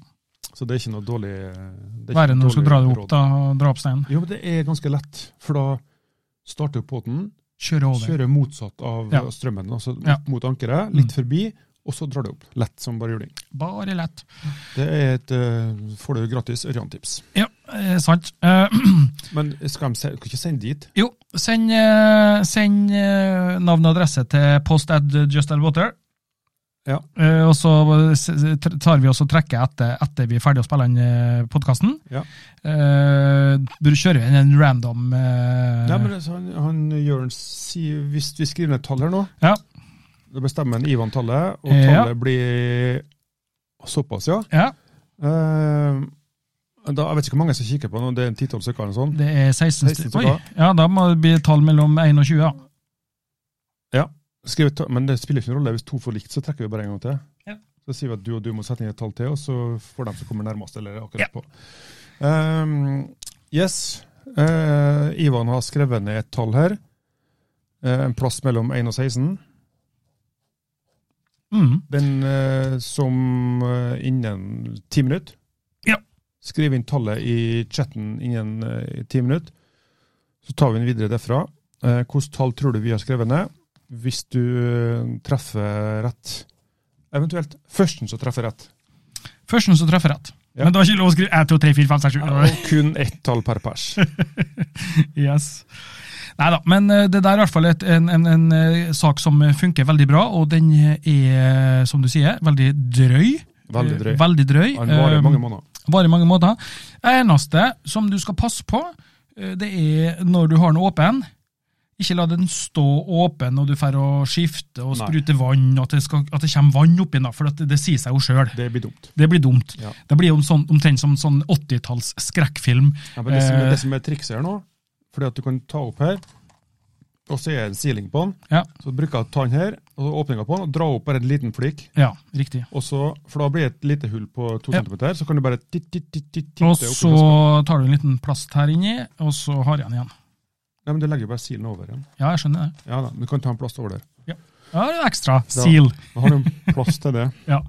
Speaker 3: Så det er ikke noe dårlig det er ikke
Speaker 2: Verre
Speaker 3: noe
Speaker 2: når du skal
Speaker 3: dårlig
Speaker 2: dra det opp,
Speaker 3: råd.
Speaker 2: da. Dra opp steinen.
Speaker 3: Jo, men det er ganske lett, for da starter jo båten,
Speaker 2: Kjøre over.
Speaker 3: kjører motsatt av
Speaker 2: Ja.
Speaker 3: eh, strømmen, altså opp
Speaker 2: Ja. Mm.
Speaker 3: mot ankeret, litt forbi, og så drar det opp. Lett som bare juling.
Speaker 2: Bare lett.
Speaker 3: Det er et, eh, får du gratis ørjantips.
Speaker 2: Ja, eh, sant. Eh,
Speaker 3: Men skal de se, kan ikke sende dit?
Speaker 2: jo, send, eh, send eh, navn og adresse til post at Just Add Water.
Speaker 3: Ja.
Speaker 2: Eh, og så s- s- tr- tar vi oss og trekker etter, etter vi er ferdig å spille inn podkasten.
Speaker 3: Ja.
Speaker 2: Eh, bør- kjører vi inn en random eh,
Speaker 3: Nei, men det- så han, han Jørn sier, hvis vi skriver ned et tall her nå,
Speaker 2: Ja.
Speaker 3: da bestemmer han Ivan tallet, og
Speaker 2: Ja.
Speaker 3: tallet blir såpass, ja.
Speaker 2: ja,
Speaker 3: Eh, da, jeg vet ikke hvor mange som kikker på nå, det er en titall stykker eller sånn.
Speaker 2: det er 16
Speaker 3: 16
Speaker 2: stykker.
Speaker 3: stykker.
Speaker 2: Oi, Ja, da må det bli tall mellom 1 og 20. Ja.
Speaker 3: Skriv et tall, men det spiller ikke noen rolle, hvis to får likt, så trekker vi bare en gang til.
Speaker 2: Ja.
Speaker 3: Så sier vi at du og du må sette inn et tall til, og så får de som kommer nærmest, eller akkurat
Speaker 2: Ja.
Speaker 3: på. Eh, yes, Eh, Ivan har skrevet ned et tall her. Eh, en plass mellom 1 og 16.
Speaker 2: Mm.
Speaker 3: Den eh, som eh, innen ti minutter
Speaker 2: Ja.
Speaker 3: Skriv inn tallet i chatten innen eh, ti minutter. Så tar vi den videre derfra. Eh, Hvilket tall tror du vi har skrevet ned? Hvis du eh, treffer rett. Eventuelt førsten som treffer rett.
Speaker 2: Førsten som treffer rett.
Speaker 3: Ja.
Speaker 2: Men det var ikke lov å skrive 1, 2, 3, 4, 5, 6, 7.
Speaker 3: Og kun ett tall per pers.
Speaker 2: Yes. Nei da, men eh, det der er i hvert fall et, en, en, en eh, sak som eh, funker veldig bra, og den er, som du sier, veldig drøy.
Speaker 3: Veldig drøy.
Speaker 2: Eh, Veldig drøy.
Speaker 3: Den varer
Speaker 2: Eh,
Speaker 3: mange måneder.
Speaker 2: varer mange måneder. Eneste som du skal passe på, eh, det er når du har den åpen. Ikke la den stå åpen når du får å skifte og
Speaker 3: Nei.
Speaker 2: sprute vann, og at det, skal, at det kommer vann oppi den, da, for at det, det sier seg jo sjøl.
Speaker 3: Det blir dumt.
Speaker 2: Det blir dumt.
Speaker 3: Ja.
Speaker 2: Det blir jo en sånn, omtrent som sånn 80-talls skrekkfilm.
Speaker 3: Ja, men det, som,
Speaker 2: Eh.
Speaker 3: det som er trikset her nå, fordi at du kan ta opp her, og så er det en siling på den.
Speaker 2: Eh, Ja,
Speaker 3: Så bruker jeg å ta den her, og så åpner jeg på den, og dra opp bare en liten flik.
Speaker 2: ja riktig.
Speaker 3: Og så, for da blir det et lite hull på to
Speaker 2: Ja.
Speaker 3: centimeter, så kan du bare titt, titt, titt, titt, titte
Speaker 2: Og
Speaker 3: oppi
Speaker 2: så
Speaker 3: flasken.
Speaker 2: tar du en liten plast her inni, og så har jeg den igjen.
Speaker 3: Nei, men du legger jo bare silen over igjen.
Speaker 2: Ja, jeg skjønner det.
Speaker 3: Ja da, men du kan ta en plast over der.
Speaker 2: Ja, det er ekstra. Seal.
Speaker 3: Da har du en plass til det.
Speaker 2: Ja.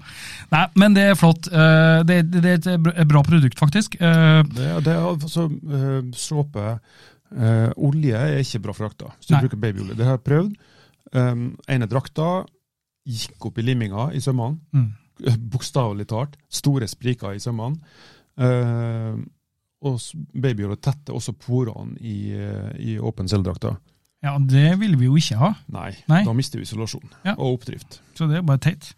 Speaker 2: Nei, men det er flott. Eh, Det, det, det er et br- et bra produkt, faktisk. Eh,
Speaker 3: Det, det er altså eh, såpe eh, Olje er ikke bra for drakta, hvis du
Speaker 2: Nei.
Speaker 3: bruker babyolje. Det har jeg prøvd. Um, ene drakta gikk opp i limminga i sømmene, Eh,
Speaker 2: Mm.
Speaker 3: bokstavelig talt. Store spriker i sømmene. Eh, og s- babyolje tetter også porene i, eh, i åpen celledrakta.
Speaker 2: Ja, det vil vi jo ikke ha,
Speaker 3: Nei,
Speaker 2: Nei.
Speaker 3: da mister vi isolasjon
Speaker 2: Ja.
Speaker 3: og oppdrift.
Speaker 2: så det er bare teit.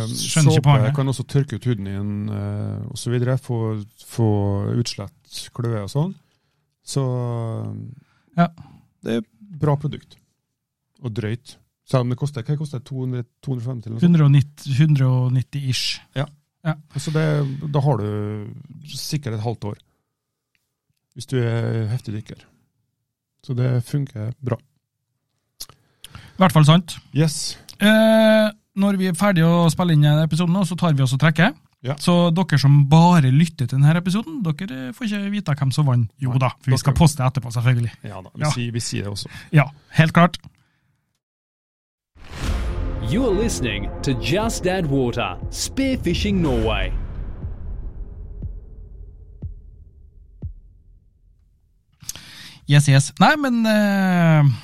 Speaker 2: Mm, skjønner ikke poenget.
Speaker 3: kan også tørke ut huden din eh, og så videre, få, få utslett, kløe og sånn. Så
Speaker 2: Ja.
Speaker 3: det er bra produkt. Og drøyt. Selv om det koster hva koster det, 200, 250 eller noe sånt.
Speaker 2: 190-ish.
Speaker 3: Så Altså, det, da har du sikkert et halvt år. Hvis du er heftig dykker. Så det funker bra.
Speaker 2: I hvert fall sant.
Speaker 3: Yes.
Speaker 2: Eh, når vi er ferdige å spille inn denne episoden, nå, så tar vi oss og trekker.
Speaker 3: Ja.
Speaker 2: Så dere som bare lytter til denne episoden, dere får ikke vite hvem som vant. Jo
Speaker 3: Nei,
Speaker 2: da, for vi skal
Speaker 3: dere-
Speaker 2: poste etterpå, selvfølgelig.
Speaker 3: Ja da, vi,
Speaker 2: Ja.
Speaker 3: Sier, vi sier det også.
Speaker 2: Ja, helt klart.
Speaker 1: You're listening to Just Add Water, Spearfishing Norway.
Speaker 2: Yes, yes. Nei, men eh,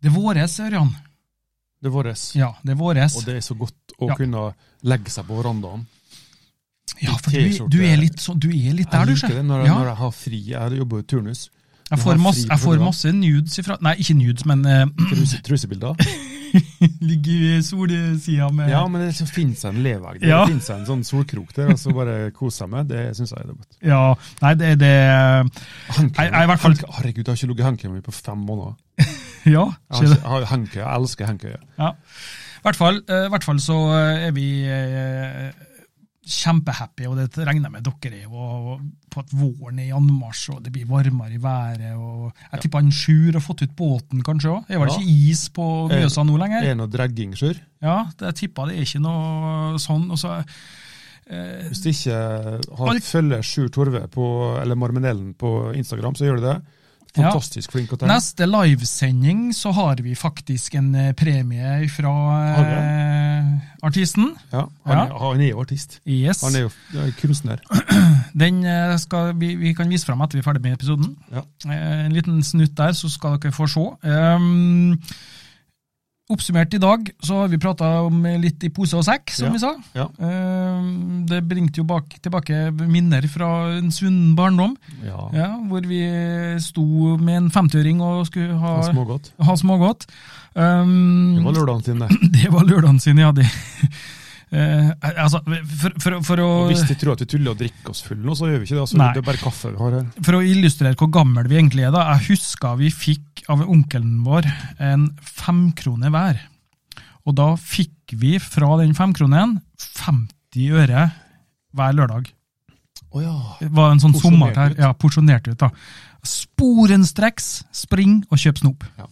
Speaker 2: Det er våres, Ørjan.
Speaker 3: Det er våres.
Speaker 2: Ja, det er våres.
Speaker 3: Og det er så godt å
Speaker 2: Ja.
Speaker 3: kunne legge seg på verandaen.
Speaker 2: ja, for du, du er litt sånn, du er litt der, du,
Speaker 3: jeg liker
Speaker 2: sjef.
Speaker 3: det når jeg,
Speaker 2: Ja,
Speaker 3: når jeg har fri. Jeg jobber jo turnus.
Speaker 2: jeg,
Speaker 3: når
Speaker 2: får
Speaker 3: jeg har
Speaker 2: masse,
Speaker 3: fri
Speaker 2: jeg
Speaker 3: på
Speaker 2: får
Speaker 3: dagen.
Speaker 2: masse nudes ifra Nei, ikke nudes, men eh,
Speaker 3: Truse, trusebilder.
Speaker 2: ligger i solsida med
Speaker 3: Ja, men det så finnes en levevegg der.
Speaker 2: Ja.
Speaker 3: Det finnes en sånn solkrok der, og så bare kose seg med. Det syns jeg er det godt.
Speaker 2: Ja, Nei, det er det
Speaker 3: Håndkle-
Speaker 2: Jeg- jeg i hvert fall-
Speaker 3: håndkle- Herregud, jeg har ikke ligget i hengekøya mi på fem måneder.
Speaker 2: Ja.
Speaker 3: Jeg,
Speaker 2: skjer
Speaker 3: har,
Speaker 2: det.
Speaker 3: ikke- jeg, har hengekøye, jeg elsker hengekøye.
Speaker 2: ja. I hvert fall, eh, i hvert fall så eh, er vi eh, kjempehappy, og det regner jeg med dere er, og, og på at våren er i anmarsj, og det blir varmere i været. og Jeg tipper han Sjur har fått ut båten kanskje òg. Er vel
Speaker 3: Ja. Eh,
Speaker 2: ikke is på Mjøsa nå lenger?
Speaker 3: Er det noe dragging, Sjur?
Speaker 2: Ja, det, jeg tipper det er ikke noe sånn. og så... eh,
Speaker 3: Hvis du ikke eh, har,
Speaker 2: Al-
Speaker 3: følger Sjur Torve på, eller Marmenellen på Instagram, så gjør du det.
Speaker 2: Ja.
Speaker 3: Fantastisk flink å tenke.
Speaker 2: Neste livesending så har vi faktisk en eh, premie fra
Speaker 3: Har vi
Speaker 2: eh, artisten.
Speaker 3: Ja, han, er- han er jo artist.
Speaker 2: Yes.
Speaker 3: Han er jo ja, kunstner.
Speaker 2: Den eh, skal vi, vi kan vise fram etter vi er ferdig med episoden.
Speaker 3: Ja.
Speaker 2: Eh, En liten snutt der, så skal dere få se. Ehm, oppsummert i dag så har vi prata om litt i pose og sekk, som
Speaker 3: Ja,
Speaker 2: vi sa.
Speaker 3: ja.
Speaker 2: Ehm, det bringte jo bak, tilbake minner fra en sunn barndom,
Speaker 3: Ja,
Speaker 2: ja, hvor vi sto med en 50-øring og skulle ha,
Speaker 3: han smågodt.
Speaker 2: ha smågodt. Ehm,
Speaker 3: Det var lørdagen sin, det.
Speaker 2: det var lørdagen sin, ja. Det. Eh, altså, for, for, for å
Speaker 3: Og hvis de tror at vi tuller og drikker oss full nå, så gjør vi ikke det. Altså,
Speaker 2: Nei.
Speaker 3: det er bare kaffe vi har her.
Speaker 2: for å illustrere hvor gammel vi egentlig er, da, jeg husker vi fikk av onkelen vår en femkrone hver. Og da fikk vi fra den femkronen 50 øre hver lørdag.
Speaker 3: Oh, ja.
Speaker 2: Det var en sånn sommer
Speaker 3: Porsjonert
Speaker 2: her.
Speaker 3: ut.
Speaker 2: Ja, porsjonert ut, da. Sporenstreks, spring og kjøp snop.
Speaker 3: Ja.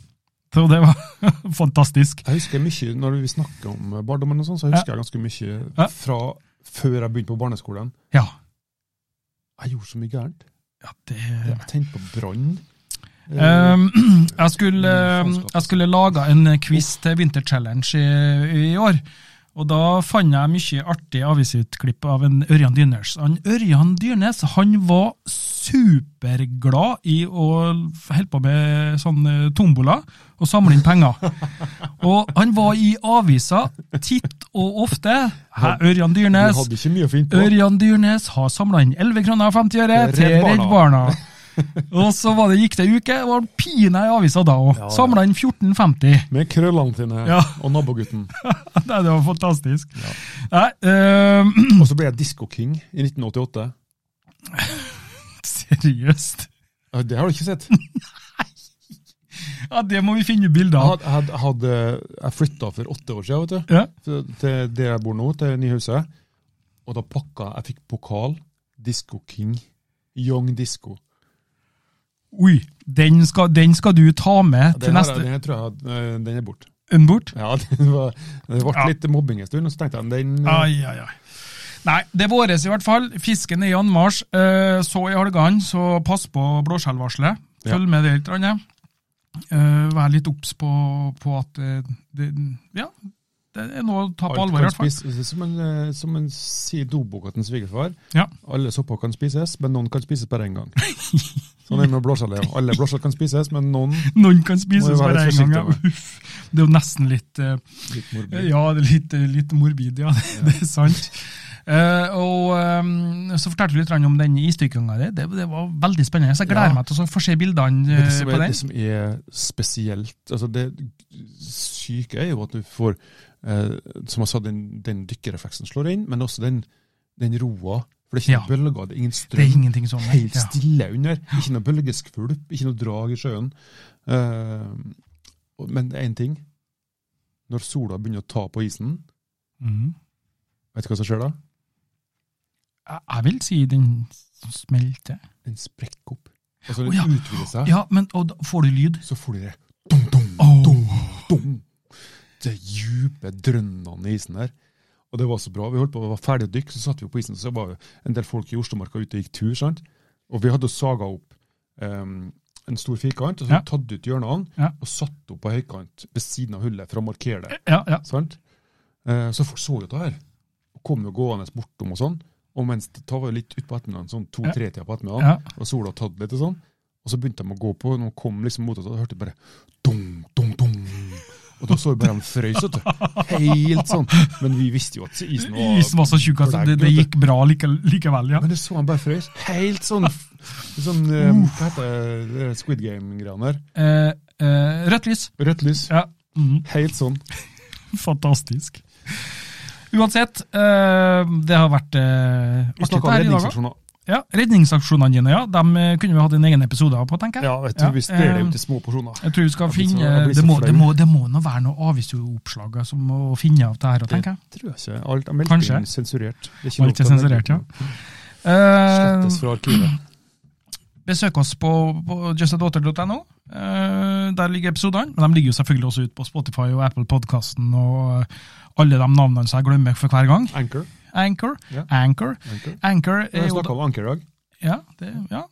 Speaker 2: Så det var fantastisk.
Speaker 3: Jeg husker mye, Når vi snakker om barndommen, og sånn, så husker jeg ganske mye
Speaker 2: Ja.
Speaker 3: fra før jeg begynte på barneskolen.
Speaker 2: Ja,
Speaker 3: Jeg gjorde så mye gærent.
Speaker 2: ja det
Speaker 3: Jeg tente på brann. Eh,
Speaker 2: Um, jeg skulle, eh, jeg skulle lage en quiz til vinterchallenge i, i år. Og da fant jeg mye artig avisutklipp av en Ørjan Dyrnes. Han, Ørjan Dyrnes han var superglad i å holde på med sånn eh, tombola og samle inn penger. og han var i avisa titt og ofte. Hæ, Ørjan
Speaker 3: Vi
Speaker 2: Dyrnes.
Speaker 3: hadde ikke mye å finne på.
Speaker 2: Ørjan Dyrnes har samla inn 11 kroner og 50 øre
Speaker 3: Til
Speaker 2: til
Speaker 3: Redd
Speaker 2: Redd Barna. og så var det, gikk det ei uke, og han pina i avisa da òg.
Speaker 3: Ja, ja.
Speaker 2: Samla inn 1450.
Speaker 3: Med krøllene sine
Speaker 2: Ja.
Speaker 3: og nabogutten.
Speaker 2: Nei, det var fantastisk. Nei, ehm, øhm,
Speaker 3: Og så ble jeg Disco King i 1988.
Speaker 2: seriøst.
Speaker 3: Ja, Det har du ikke sett.
Speaker 2: Ja, det må vi finne bilder
Speaker 3: Jeg
Speaker 2: av.
Speaker 3: hadde, jeg hadde- hadde, jeg flytta for åtte år siden, vet du.
Speaker 2: Ja.
Speaker 3: til- Til der jeg bor nå, til Nyhuset. Og da pakka jeg fikk pokal. Disco King. Young Disco.
Speaker 2: Oi, den skal, den skal du ta med til
Speaker 3: Den, her,
Speaker 2: neste
Speaker 3: den her tror jeg eh, den er borte.
Speaker 2: Unbort.
Speaker 3: Ja, den var, det ble
Speaker 2: Ja.
Speaker 3: litt mobbing en stund, og så tenkte jeg den eh,
Speaker 2: Ai, ai, ai. Nei, det er våres i hvert fall. Fisken er i anmarsj. Eh, Så i halvgane, så pass på blåskjellvarselet.
Speaker 3: Ja.
Speaker 2: Følg med det litt. Rane. Eh, Vær litt obs på, på at eh, det, Ja, det er noe å ta på
Speaker 3: alt
Speaker 2: alvor, i
Speaker 3: kan
Speaker 2: hvert fall.
Speaker 3: spises- Som en, eh, som en sier doboka til en svigerfar.
Speaker 2: Ja.
Speaker 3: Alle sopper kan spises, men noen kan spises bare én gang. Sånn er det med blåskjell. ja. Alle blåskjell kan spises, men noen
Speaker 2: Noen kan
Speaker 3: Må
Speaker 2: spises
Speaker 3: jo være
Speaker 2: bare
Speaker 3: litt
Speaker 2: én gang. Ja.
Speaker 3: forsiktig med.
Speaker 2: Uff. Det er jo nesten litt eh,
Speaker 3: litt morbid.
Speaker 2: Ja, det er litt, litt morbid, ja. Det, det er sant. Eh, og eh, så fortalte du litt grann om den istykkinga di. Det, det var veldig spennende. Så jeg gleder
Speaker 3: Ja.
Speaker 2: meg til å få se bildene
Speaker 3: Men
Speaker 2: eh,
Speaker 3: det, som
Speaker 2: på
Speaker 3: er,
Speaker 2: den.
Speaker 3: det som er spesielt altså Det syke er jo at du får, eh, som jeg sa, den, den dykkerrefleksen slår inn, men også den, den roa. For det er ikke
Speaker 2: Ja.
Speaker 3: noe bølger, det er
Speaker 2: Det
Speaker 3: ingen
Speaker 2: er
Speaker 3: strøm.
Speaker 2: ingenting sånn.
Speaker 3: Helt
Speaker 2: Ja.
Speaker 3: stille under. Ikke noe bølgeskvulp, ikke noe drag i sjøen. Eh, og- men det er én ting. Når sola begynner å ta på isen,
Speaker 2: Mhm.
Speaker 3: vet du hva som skjer da?
Speaker 2: Jeg jeg vil si den smelter.
Speaker 3: Den sprekker opp. Altså,
Speaker 2: Å,
Speaker 3: den
Speaker 2: ja.
Speaker 3: utvider seg.
Speaker 2: Ja, men og da får du lyd?
Speaker 3: Så får du det dum, dum,
Speaker 2: Åh.
Speaker 3: dum. Det djupe drønnene i isen der. Og det var så bra. Vi holdt på å være ferdig å dykke, så satt vi på isen. Så var jo en del folk i Oslomarka ute og gikk tur. sant? Og vi hadde jo saga opp em, en stor firkant, og så
Speaker 2: Ja.
Speaker 3: tatt ut hjørnene
Speaker 2: Ja.
Speaker 3: og satt opp på høykant ved siden av hullet for å markere det.
Speaker 2: Ja, ja.
Speaker 3: sant? Eh, så folk så jo det her, og kom jo gående bortom og sånn. Og mens det var jo litt utpå ettermiddagen, sånn
Speaker 2: Ja.
Speaker 3: to-tre-tida på ettermiddagen,
Speaker 2: ja.
Speaker 3: og sola hadde tatt litt og sånn. Og så begynte de å gå på, og de kom liksom mot oss, og da hørte jeg bare dung, dung, dung. Og da så vi bare de frøys, vet du. Helt sånn. Men vi visste jo at isen var
Speaker 2: Isen var så tjukk, altså. Det, det gikk bra like, likevel, ja.
Speaker 3: Men det så han bare frøys. Helt sånn sånn eh,
Speaker 2: Uh.
Speaker 3: Hva heter det, det der Squid Game-greiene der?
Speaker 2: Eh, eh, rødt lys.
Speaker 3: Rødt lys.
Speaker 2: Ja. Mhm.
Speaker 3: Helt sånn.
Speaker 2: Fantastisk. Uansett, eh, det har vært eh,
Speaker 3: Vi
Speaker 2: artig
Speaker 3: snakka
Speaker 2: det
Speaker 3: om
Speaker 2: her i dag også.
Speaker 3: redningsaksjoner.
Speaker 2: Ja, redningsaksjonene dine, ja. Dem eh, kunne vi hatt en egen episode av på, tenker jeg.
Speaker 3: Ja, vet du, vi sprer det
Speaker 2: eh,
Speaker 3: ut i små porsjoner.
Speaker 2: Jeg tror vi skal
Speaker 3: Jeg blir så-
Speaker 2: finne
Speaker 3: jeg blir så
Speaker 2: Det må,
Speaker 3: flau.
Speaker 2: det må, det må nå være noe avisoppslag som må finne av det her, tenker jeg.
Speaker 3: Tror jeg ikke. Alt er meldt
Speaker 2: Kanskje.
Speaker 3: inn sensurert. Det
Speaker 2: Alt
Speaker 3: er lov
Speaker 2: er
Speaker 3: til å legge
Speaker 2: sensurert, ja.
Speaker 3: ut noe.
Speaker 2: Eh,
Speaker 3: Slettes fra arkivet.
Speaker 2: besøk oss på, på justadaughter.no. Eh, der ligger episodene. Men de ligger jo selvfølgelig også ute på Spotify og Apple Podkasten og eh, alle de navnene som jeg glemmer for hver gang.
Speaker 3: Anchor.
Speaker 2: Anchor.
Speaker 3: Ja.
Speaker 2: Anchor.
Speaker 3: Anchor.
Speaker 2: Anchor
Speaker 3: Vi
Speaker 2: er Eh, jo da-
Speaker 3: snakka om Anchor i dag.
Speaker 2: Ja, det, ja.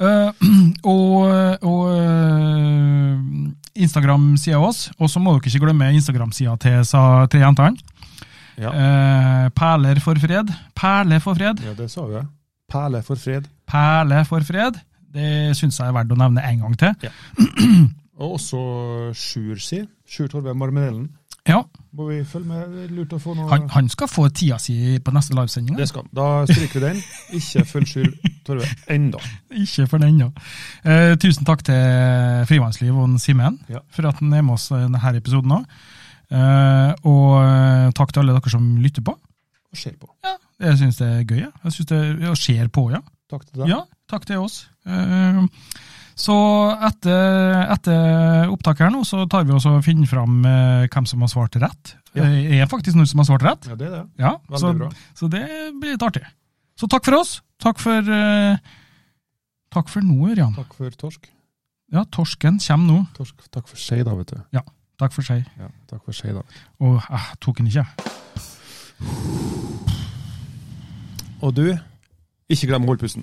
Speaker 2: Eh, og og eh, Instagram-sida vår. Og så må dere ikke glemme Instagram-sida til sa tre jentene.
Speaker 3: Ja.
Speaker 2: Eh, perler for fred. Perle for fred.
Speaker 3: Ja, det sa jo jeg. Perle for fred.
Speaker 2: Perle for fred. Det syns jeg er verdt å nevne en gang til.
Speaker 3: Og også Sjur si. Sjur Torve Marmelellen.
Speaker 2: Ja,
Speaker 3: Må vi følge med? Det er Lurt å få noe
Speaker 2: Han, han skal få tida si på neste livesending.
Speaker 3: Det skal han. Da stryker vi den. Ikke følg Sjur Torve enda.
Speaker 2: Ikke for den, ja. Eh, tusen takk til Frivannsliv og Simen
Speaker 3: Ja.
Speaker 2: for at han er med oss i denne episoden òg. Eh, og eh, takk til alle dere som lytter på.
Speaker 3: Og ser på.
Speaker 2: Ja, jeg syns det er gøy. Ja. Jeg synes det ja, skjer på, ja.
Speaker 3: Takk til
Speaker 2: ja.
Speaker 3: deg.
Speaker 2: Takk til oss. Eh, så etter, etter opptaket her nå, så tar vi også og finner fram eh, hvem som har svart rett.
Speaker 3: Ja.
Speaker 2: Det er faktisk noen som har svart rett.
Speaker 3: Ja, det er det.
Speaker 2: Ja,
Speaker 3: Veldig
Speaker 2: så,
Speaker 3: bra.
Speaker 2: så det blir litt artig. Så takk for oss. Takk for, eh, takk for nå, Ørjan.
Speaker 3: Takk for torsk.
Speaker 2: Ja, torsken kommer nå.
Speaker 3: torsk. Takk for skei, da, vet du.
Speaker 2: Takk for seg.
Speaker 3: Ja, takk for skei, da.
Speaker 2: Og jeg tok den ikke.
Speaker 3: Og du, ikke glem å holde pusten.